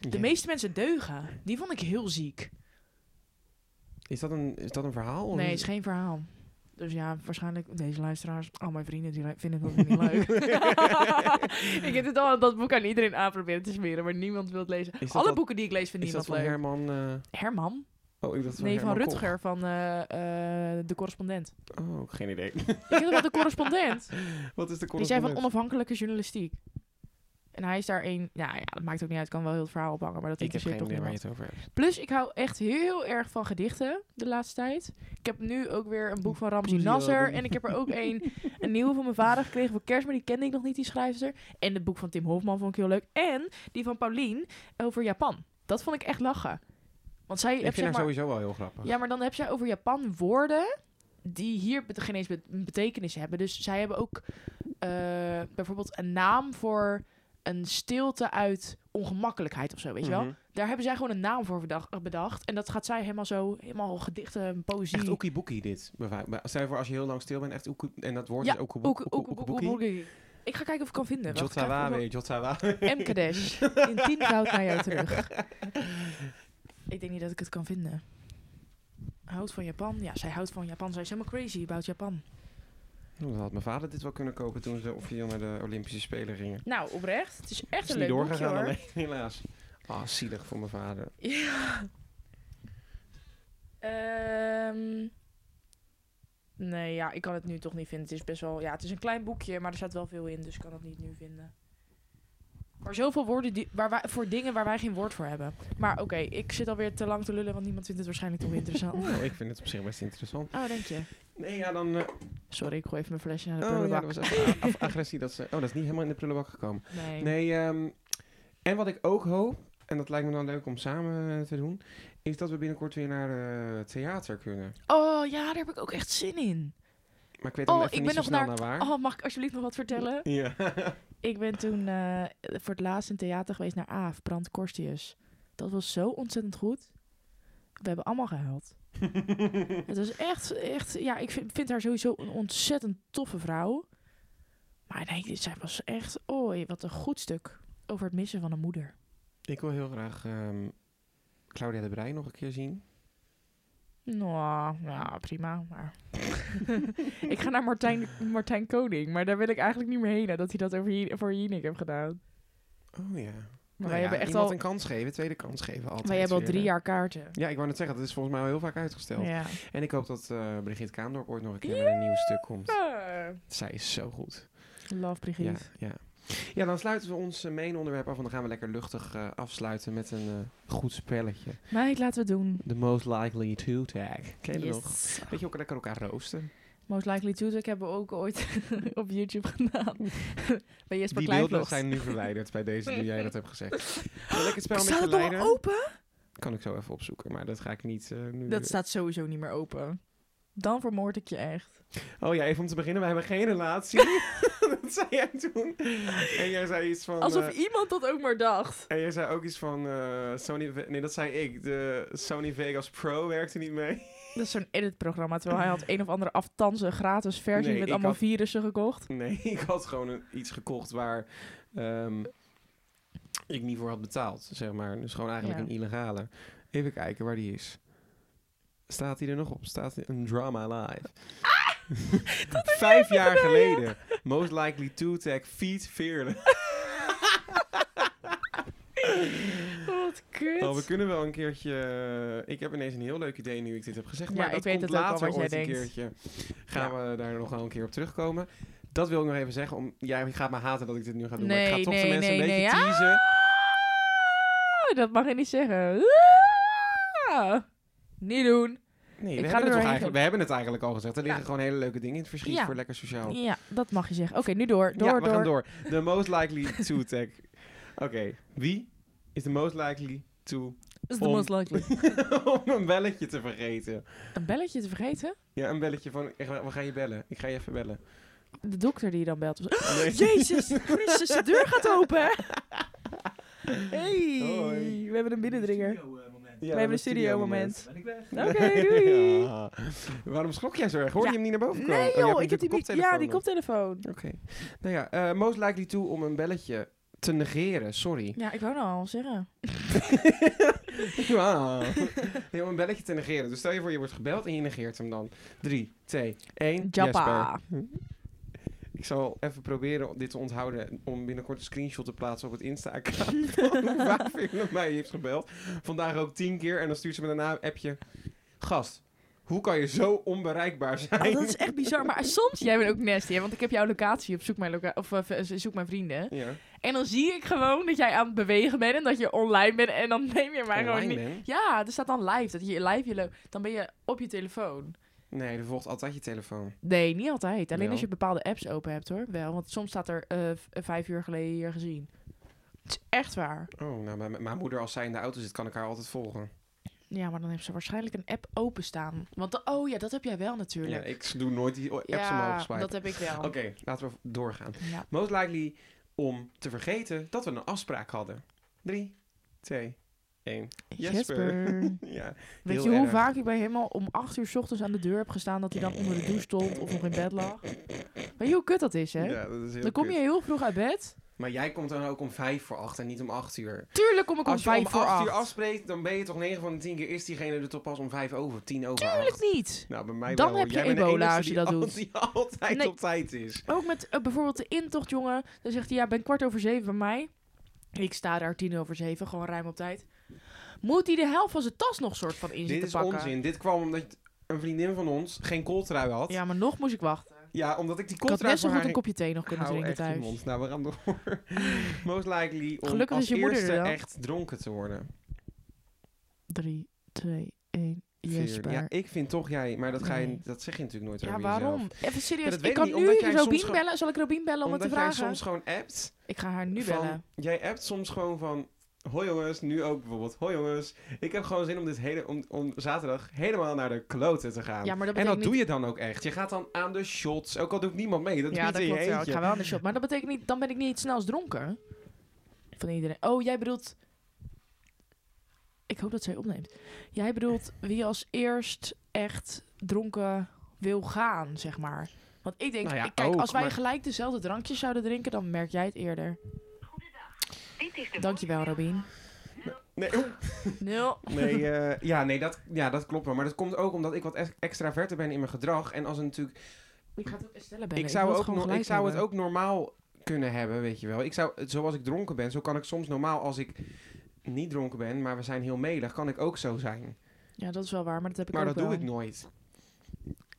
De Ja. meeste mensen deugen. Die vond ik heel ziek. Is dat een, is Oh, dat een verhaal? of Nee, een- het is geen verhaal. Dus ja, waarschijnlijk deze luisteraars, al mijn vrienden, die li- vinden dat niet leuk. ik heb dit al dat boek aan iedereen aan proberen te smeren, maar niemand wil het lezen. Is dat Alle dat- boeken die ik lees, vind Is dat niemand van leuk. Herman... eh, Herman? Oh, ik dacht van Nee, van Herman Koch. Rutger van eh, eh, De Correspondent. Oh, ook geen idee. ik weet nog wel De Correspondent. Wat is Die de zijn van correspondent? onafhankelijke journalistiek. En hij is daar een... Ja, ja, dat maakt ook niet uit. Ik kan wel heel het verhaal ophangen, maar dat Ik heb interesseert geen toch idee waar je niemand. het over hebt. Plus, ik hou echt heel erg van gedichten de laatste tijd. Ik heb nu ook weer een boek van Ramzi Poesie Nasser. album. En ik heb er ook een, een nieuwe van mijn vader gekregen voor kerst. Maar die kende ik nog niet, die schrijfster. En het boek van Tim Hofman vond ik heel leuk. En die van Paulien over Japan. Dat vond ik echt lachen. Want zij ik heeft vind zeg haar maar... sowieso wel heel grappig. Ja, maar dan heb zij over Japan woorden die hier bet- geen eens bet- een betekenis hebben. Dus zij hebben ook eh, bijvoorbeeld een naam voor een stilte uit ongemakkelijkheid of zo, weet je wel? Mhm. Daar hebben zij gewoon een naam voor bedacht, bedacht. En dat gaat zij helemaal zo, helemaal gedichten, poëzie. Echt oekieboekie dit. Beva- maar Stel je voor als je heel lang stil bent, echt oekie... En dat woord Ja, is oekiebo- Oek- oekie- oek- oek- oekieboekie. oek- Ik ga kijken of ik kan vinden. Wacht, ik ga Jotsawa, even- weet Jotsawa. MKDesh. In 10 goud naar jou terug. Ik denk niet dat ik het kan vinden. Houdt van Japan? Ja, zij houdt van Japan. Zij is helemaal crazy about Japan. Dan had mijn vader dit wel kunnen kopen toen ze officieel naar de Olympische Spelen gingen. Nou, oprecht. Het is echt Is een niet leuk boekje doorgegaan hoor. alleen, helaas. Ah, zielig voor mijn vader. Ja. Ehm, nee, ja, ik kan het nu toch niet vinden. Het is best wel... Ja, het is een klein boekje, maar er staat wel veel in. Dus ik kan het niet nu vinden. Maar zoveel woorden die, waar wij, voor dingen waar wij geen woord voor hebben. Maar oké, ik zit alweer te lang te lullen, want niemand vindt het waarschijnlijk toch interessant. Oh, ik vind het op zich best interessant. Oh, denk je? Nee, ja, dan... eh, Sorry, ik gooi even mijn flesje naar de oh, ja, prullenbak. dat was echt a- a- agressie. Dat ze, oh, dat is niet helemaal in de prullenbak gekomen. nee. Nee, ehm, en wat ik ook hoop, en dat lijkt me dan leuk om samen eh, te doen, is dat we binnenkort weer naar eh, theater kunnen. Oh ja, daar heb ik ook echt zin in. Maar ik weet dan Oh, even ik niet ben zo nog snel naar, waar. Oh, mag ik alsjeblieft nog wat vertellen? Ja. Ik ben toen eh, voor het laatst in theater geweest naar Aaf, Brand Korstius. Dat was zo ontzettend goed. We hebben allemaal gehuild. het was echt, echt... Ja, ik vind, vind haar sowieso een ontzettend toffe vrouw. Maar nee, dit- zij was echt... Oei, wat een goed stuk over het missen van een moeder. ik wil heel graag ehm, Claudia de Breij nog een keer zien. Nou, nou prima, maar... ik ga naar Martijn, Martijn Koning, maar daar wil ik eigenlijk niet meer heen... nadat hij dat over, Jin- voor Jinek heeft gedaan. Oh ja. Maar Nou wij ja, hebben echt iemand al... een kans geven, tweede kans geven altijd. Wij hebben al weer, drie hè. jaar kaarten. Ja, ik wou net zeggen, dat is volgens mij al heel vaak uitgesteld. Ja. En ik hoop dat eh Brigitte Kaandorp ooit nog een keer met een nieuw stuk komt. Zij is zo goed. Love Ja, Brigitte. ja. ja, dan sluiten we ons eh, main onderwerp af en dan gaan we lekker luchtig eh, afsluiten met een eh, goed spelletje. Meid, laten we het doen. The most likely to tag. Ken je dat nog? Yes. Weet je ook lekker elkaar roosten? Most Likely to Tag hebben we ook ooit op YouTube gedaan. Bij Jesper Die beelden Kleinvlogs. zijn nu verwijderd bij deze nu jij dat hebt gezegd. Wil ik het spel met Staat je het nog wel leiden? open? Kan ik zo even opzoeken, maar dat ga ik niet eh, nu... Dat staat sowieso niet meer open. Dan vermoord ik je echt. Oh ja, even om te beginnen, wij hebben geen relatie. dat zei jij toen. En jij zei iets van... Alsof eh, iemand dat ook maar dacht. En jij zei ook iets van eh, Sony... Ve- Nee, dat zei ik. De Sony Vegas Pro werkte niet mee. Dat is zo'n editprogramma. Terwijl hij had een of andere aftanse gratis versie Nee, met ik allemaal had- virussen gekocht. Nee, ik had gewoon een- iets gekocht waar ehm, ik niet voor had betaald, zeg maar. Dus gewoon eigenlijk Ja. een illegale. Even kijken waar die is. Staat hij er nog op? Staat hij een drama live? Ah! Vijf jaar geleden. Most likely to tag feet fearless. Wat kut. Oh, we kunnen wel een keertje. eh, ik heb ineens een heel leuk idee nu ik dit heb gezegd. Ja, maar ik dat weet komt het ook al later wat jij ooit een denkt. keertje. Gaan we daar nog wel een keer op terugkomen. Dat wil ik nog even zeggen. Om, jij gaat me haten dat ik dit nu ga doen. maar ik ga Nee, toch de nee, mensen nee, een beetje nee. teasen. Ah, dat mag je niet zeggen. Ah. Niet doen. Nee, Ik we ga er hebben, het toch doorheen. eigenlijk, we hebben het eigenlijk al gezegd. Er liggen Ja. gewoon hele leuke dingen in het verschiet Ja. voor lekker sociaal. Ja, dat mag je zeggen. Oké, nu door. Door, Nou. ja, we door. gaan door. The most likely to tag. Oké, wie is the most likely to is the Om- most likely. om een belletje te vergeten. Een belletje te vergeten? Ja, een belletje van, echt, we gaan je bellen. Ik ga je even bellen. De dokter die je dan belt. was- Nee. Jezus Christus, de deur gaat open. hè? Hey, Hoi. we hebben een binnendringer. Ja, we hebben een studio moment. Ben ik weg? Oké, doei. Ja. Waarom schrok jij zo erg? Hoorde Ja. je hem niet naar boven komen? Nee Oh, je joh, hebt ik heb die, natuurlijk mik- ja, die koptelefoon koptelefoon. op. Oké. Nou ja, eh, most likely toe om een belletje te negeren, sorry. Ja, ik wou nou al zeggen. Ja. Nee, om een belletje te negeren. Dus stel je voor, je wordt gebeld en je negeert hem dan. 3, 2, 1. Jappa. Ik zal even proberen om dit te onthouden om binnenkort een screenshot te plaatsen op het Insta-account. van hoe vaak Veerle mij heeft gebeld. Vandaag ook tien keer en dan stuurt ze me daarna een appje. Gast, hoe kan je zo onbereikbaar Oh, zijn? dat is echt bizar. Maar soms, jij bent ook nasty, hè? want ik heb jouw locatie op zoek mijn, loca of, eh, zoek mijn vrienden. Ja. En dan zie ik gewoon dat jij aan het bewegen bent en dat je online bent. En dan neem je mij gewoon Online niet. ben? Ja, er staat dan live. Dat je live je lo- Dan ben je op je telefoon. Nee, er volgt altijd je telefoon. Nee, niet altijd. Alleen Wel. als je bepaalde apps open hebt hoor. Wel, want soms staat er eh, v- eh, vijf uur geleden hier gezien. Het is echt waar. Oh, nou, mijn, mijn moeder als zij in de auto zit, kan ik haar altijd volgen. Ja, maar dan heeft ze waarschijnlijk een app openstaan. Want de- oh ja, dat heb jij wel Ja, natuurlijk. ik doe nooit die apps omhoog Ja, swipen. dat heb ik wel. Oké, laten we doorgaan. Ja. Most likely om te vergeten dat we een afspraak hadden. 3, 2, 1. Jesper. Ja, Weet Heel je hoe erg. vaak ik bij helemaal om 8 uur 's ochtends aan de deur heb gestaan dat hij dan onder de douche stond of nog in bed lag? Weet je hoe kut dat is, hè? ja, dat is heel dan kom kut. je heel vroeg uit bed. Maar jij komt dan ook om vijf voor acht en niet om acht uur. Tuurlijk kom ik om Als je om 5 voor acht uur 8. afspreekt, dan ben je toch negen van de tien keer is diegene er toch pas om vijf over, tien over acht. Tuurlijk niet. Nou, bij mij Dan wel. heb je jij bent de ebola enige als je die dat al- doet. Die altijd Nee. op tijd is. Ook met eh, bijvoorbeeld de intocht, jongen. Dan zegt hij, ja, ik ben kwart over zeven bij mij. Ik sta daar tien over zeven, gewoon ruim op tijd. Moet hij de helft van zijn tas nog soort van in Dit zitten is pakken? onzin. Dit kwam omdat een vriendin van ons geen kooltrui had. Ja, Ja, maar nog moest ik wachten. omdat ik die Ik had kooltrui net zo voor goed haar een kopje thee nog kunnen Hou drinken echt je thuis. mond. Nou, we gaan door. Most likely om Gelukkig als is je moeder er eerste dan. echt dronken te worden. Drie, twee, één. Veer. Jesper. Ja, Ja, ik vind toch jij, maar dat, ga je, Nee. dat zeg je natuurlijk nooit over waarom? jezelf. Even serieus. Ja, dat weet ik ik kan niet, nu omdat jij soms Robien gewoon- bellen. Zal ik Robien bellen om het Omdat te jij vragen? soms gewoon appt. Ik ga haar nu van- bellen. Jij appt soms gewoon van... Hoi jongens, nu ook bijvoorbeeld. Hoi jongens, ik heb gewoon zin om, dit hele, om, om zaterdag helemaal naar de kloten te gaan. Ja, maar dat en dat betekent doe je dan ook echt. Je gaat dan aan de shots. Ook al doet niemand mee, dat ja, doe dat je in klopt je wel. Ik eentje. ga wel aan de shop. Maar dat betekent niet, dan ben ik niet snel dronken. Van iedereen. Oh, jij bedoelt... Ik hoop dat zij opneemt. Jij bedoelt wie als eerst echt dronken wil gaan, zeg maar. Want ik denk, Nou ja, ik- kijk, ook, als wij maar- gelijk dezelfde drankjes zouden drinken, dan merk jij het eerder. Dankjewel, Robin. Nee, oeh. Nul. Nee, eh, ja, nee dat, ja, dat klopt wel. Maar dat komt ook omdat ik wat ex- extraverter ben in mijn gedrag. En als een natuurlijk Ik ga het ook Estelle bellen. ik zou, wil het ook gewoon no- ik gelijk zou het hebben. ook normaal kunnen hebben, weet je wel. Ik zou, het- zoals ik dronken ben, zo kan ik soms normaal als ik niet dronken ben, maar we zijn heel melig, kan ik ook zo zijn. Ja, dat is wel waar, maar dat heb ik Maar ook dat doe wel. Nou. ik nooit.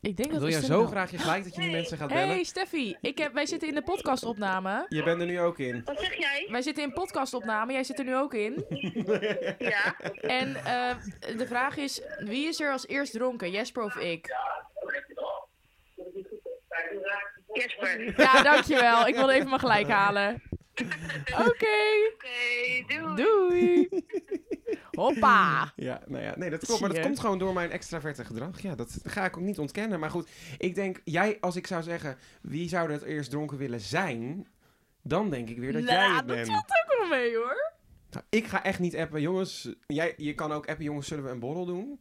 Ik denk dat Wil jij Estelle zo wel- graag je gelijk dat je die mensen gaat bellen? Hey Steffi, ik heb, wij zitten in de podcastopname. Je bent er nu ook in. Wat zeg jij? Wij zitten in podcastopname, jij zit er nu ook in. Ja. En eh, de vraag is, wie is er als eerst dronken, Jesper of ik? Jesper. Oké, Ja, dankjewel. Ik wilde even mijn gelijk halen. Oké, doei. doei. Hoppa. Ja, nou ja, nee, dat Zie klopt. Maar dat je. komt gewoon door mijn extraverte gedrag. Ja, dat ga ik ook niet ontkennen. Maar goed, ik denk, jij, als ik zou zeggen, wie zou er het eerst dronken willen zijn? Dan denk ik weer dat jij Nou, het dat bent. valt ook wel mee hoor. Nou, ik ga echt niet appen. Jongens, jij, je kan ook appen. Jongens, zullen we een borrel doen?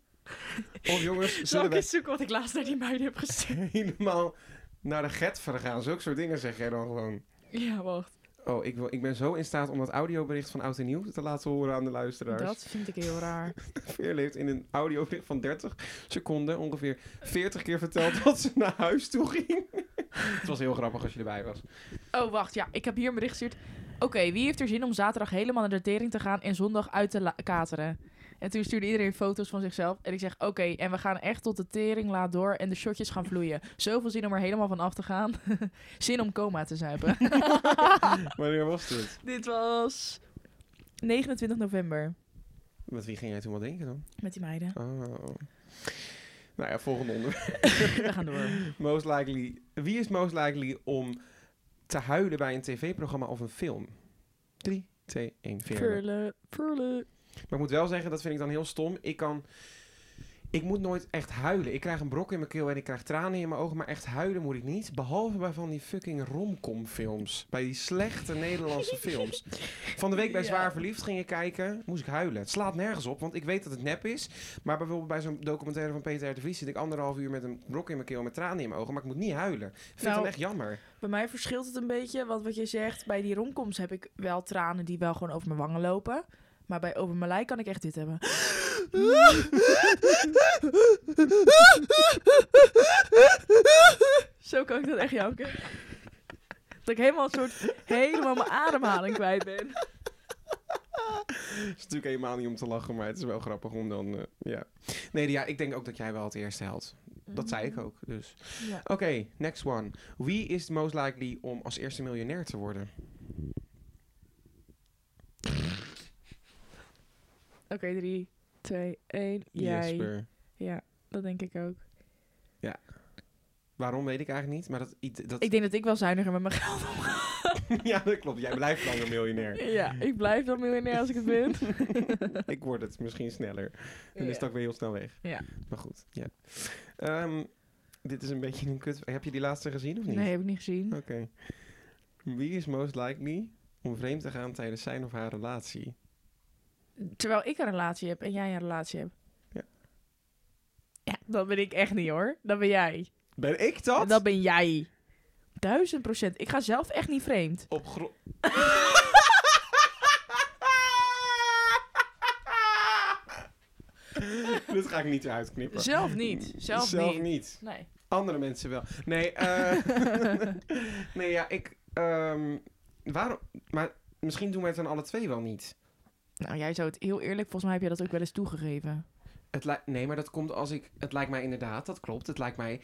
Of jongens, Zal zullen ik we eens zoeken wat ik laatst naar die meiden heb gestuurd? helemaal naar de get vergaan? Zulke soort dingen zeg jij dan gewoon. Ja, wacht. Oh, ik, wil, ik ben zo in staat om dat audiobericht van Oud en Nieuw te laten horen aan de luisteraars. Dat vind ik heel raar. Veer heeft in een audiobericht van 30 seconden ongeveer 40 keer verteld dat ze naar huis toe ging. Het was heel grappig als je erbij was. Oh, wacht. Ja, ik heb hier een bericht gestuurd. Oké, wie heeft er zin om zaterdag helemaal naar de tering te gaan en zondag uit te la- kateren? En toen stuurde iedereen foto's van zichzelf. En ik zeg, oké, en we gaan echt tot de tering laat door en de shotjes gaan vloeien. Zoveel zin om er helemaal van af te gaan. zin om coma te zuipen. Wanneer was dit? Dit was 29 november. Met wie ging jij toen wat denken dan? Met die meiden. Oh. Nou ja, volgende onderwerp. We gaan door. Most likely, wie is most likely om te huilen bij een tv-programma of een film? 3, 2, 1, Veerle. Purlen, purlen. Maar ik moet wel zeggen, dat vind ik dan heel stom. Ik kan... Ik moet nooit echt huilen. Ik krijg een brok in mijn keel en ik krijg tranen in mijn ogen. Maar echt huilen moet ik niet. Behalve bij van die fucking romcomfilms. Bij die slechte Nederlandse films. Van de week bij Ja. Zwaar Verliefd ging ik kijken. Moest ik huilen. Het slaat nergens op, want ik weet dat het nep is. Maar bijvoorbeeld bij zo'n documentaire van Peter R. de Vries... zit ik anderhalf uur met een brok in mijn keel en met tranen in mijn ogen. Maar ik moet niet huilen. Ik vind het Nou, dan echt jammer. Bij mij verschilt het een beetje, want wat je zegt, bij die romcoms heb ik wel tranen die wel gewoon over mijn wangen lopen. Maar bij Over mijn lijn kan ik echt dit hebben. Zo kan ik dat echt janken. Dat ik helemaal een soort, helemaal mijn ademhaling kwijt ben. Het is natuurlijk helemaal niet om te lachen, maar het is wel grappig om dan... eh, ja. Nee, ja, ik denk ook dat jij wel het eerste helpt. Mhm. Dat zei ik ook, dus. Ja. Oké, next one. Wie is the most likely om als eerste miljonair te worden? Oké, drie, twee, één. Jij. Jesper. Ja, dat denk ik ook. Waarom weet ik eigenlijk niet, maar dat... i- dat Ik denk dat ik wel zuiniger met mijn geld ja, dat klopt. Jij blijft langer miljonair. Ja, ik blijf dan miljonair als ik het ben. ik word het misschien sneller. Dan is het ook weer heel snel weg. Ja. Maar goed, ja. Ehm, dit is een beetje een kut... Heb je die laatste gezien of niet? Nee, heb ik niet gezien. Oké. Wie is most likely om vreemd te gaan tijdens zijn of haar relatie? Terwijl ik een relatie heb en jij een relatie hebt. Ja. Ja, dat ben ik echt niet hoor. Dat ben jij. Ben ik dat? Dat ben jij. Duizend procent. Ik ga zelf echt niet vreemd. Op grond... Dit ga ik niet uitknippen. Zelf niet. Zelf, niet. niet. Nee. Andere mensen wel. Nee, eh, nee ja, ik... ehm, waarom... Maar misschien doen we het dan alle twee wel niet. Nou, jij zou het heel eerlijk, volgens mij heb je dat ook wel eens toegegeven. Het lij- nee, maar dat komt als ik... Het lijkt mij inderdaad, dat klopt. Het lijkt mij...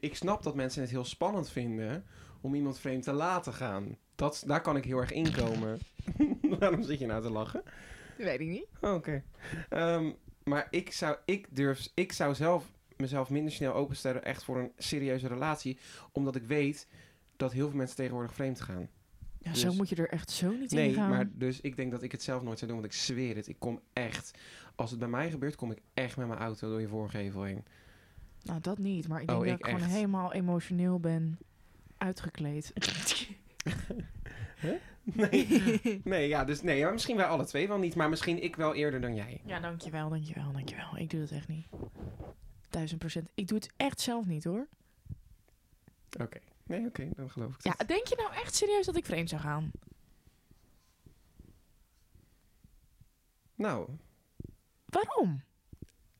Ik snap dat mensen het heel spannend vinden om iemand vreemd te laten gaan. Dat, daar kan ik heel erg in komen. Waarom zit je nou te lachen? Weet ik niet. Oh, Oké. Ehm, maar ik zou, ik, durf, ik zou zelf mezelf minder snel openstellen echt voor een serieuze relatie. Omdat ik weet dat heel veel mensen tegenwoordig vreemd gaan. Ja, Dus- zo moet je er echt zo niet in Nee, gaan. maar dus ik denk dat ik het zelf nooit zou doen. Want ik zweer het. Ik kom echt... Als het bij mij gebeurt, kom ik echt met mijn auto door je voorgevel heen. Nou, dat niet. Maar ik Oh, denk dat ik ik gewoon echt. helemaal emotioneel ben uitgekleed. Nee. nee, ja, dus nee. Maar misschien wij alle twee wel niet. Maar misschien ik wel eerder dan jij. Ja, dankjewel, dankjewel, dankjewel. Ik doe dat echt niet. Duizend procent. Ik doe het echt zelf niet hoor. Oké. Nee, oké. dan geloof ik Ja, dat. denk je nou echt serieus dat ik vreemd zou gaan? Nou, Waarom?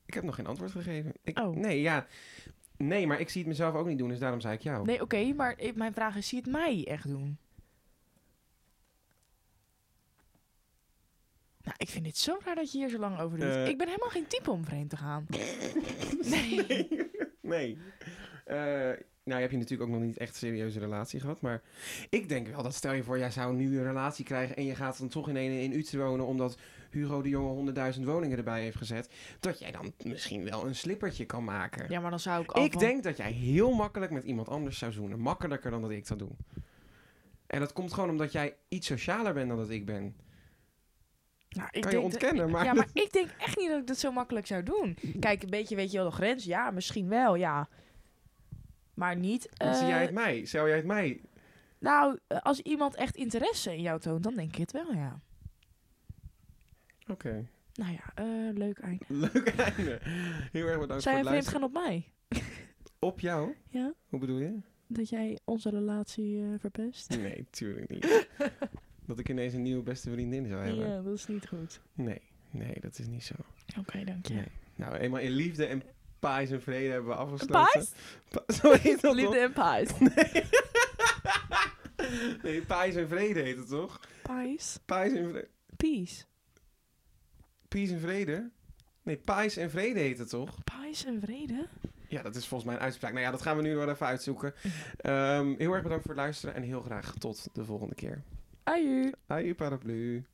ik heb nog geen antwoord gegeven. Ik, Oh. Nee, ja. Nee, maar ik zie het mezelf ook niet doen. Dus daarom zei ik jou. Nee, oké, maar ik- mijn vraag is, zie je het mij echt doen? Nou, ik vind het zo raar dat je hier zo lang over doet. Eh. ik ben helemaal geen type om vreemd te gaan. nee. Nee. Eh, nou, heb je natuurlijk ook nog niet echt een serieuze relatie gehad. Maar ik denk wel dat stel je voor, jij zou nu een relatie krijgen... en je gaat dan toch in een in Utrecht wonen... omdat Hugo de Jonge 100.000 woningen erbij heeft gezet... dat jij dan misschien wel een slippertje kan maken. Ja, maar dan zou ik al ik van- denk dat jij heel makkelijk met iemand anders zou zoenen. Makkelijker dan dat ik dat doe. En dat komt gewoon omdat jij iets socialer bent dan dat ik ben. Nou, ik kan je denk dat- ontkennen, maar... Ja, maar ik denk echt niet dat ik dat zo makkelijk zou doen. Kijk, een beetje weet je wel de grens. Ja, misschien wel, ja. Maar niet... Dan zie eh, jij het mij? Zou jij het mij? Nou, eh, als iemand echt interesse in jou toont, dan denk ik het wel, ja. Oké. Nou ja, eh, leuk einde. Leuk einde. Heel erg bedankt Zou voor jij het vreemd luisteren. gaan op mij? Op jou? Ja? Hoe bedoel je? Dat jij onze relatie eh, verpest? Nee, tuurlijk niet. dat ik ineens een nieuwe beste vriendin zou hebben. Ja, dat is niet goed. Nee, nee, dat is niet zo. Oké, dank je. Nee. Nou, eenmaal in liefde en paais en vrede hebben we afgesloten. Paas? Pa- zo heet dat Liefde en paas. toch? Nee, paais en vrede heet het toch? Paas? Paais en vrede. Peace. Peace en vrede? Nee, paais en vrede heet het toch? Paas en vrede? Ja, dat is volgens mij een uitspraak. Nou ja, dat gaan we nu wel even uitzoeken. Ehm, heel erg bedankt voor het luisteren en heel graag tot de volgende keer. Aju. Hai, paraplu.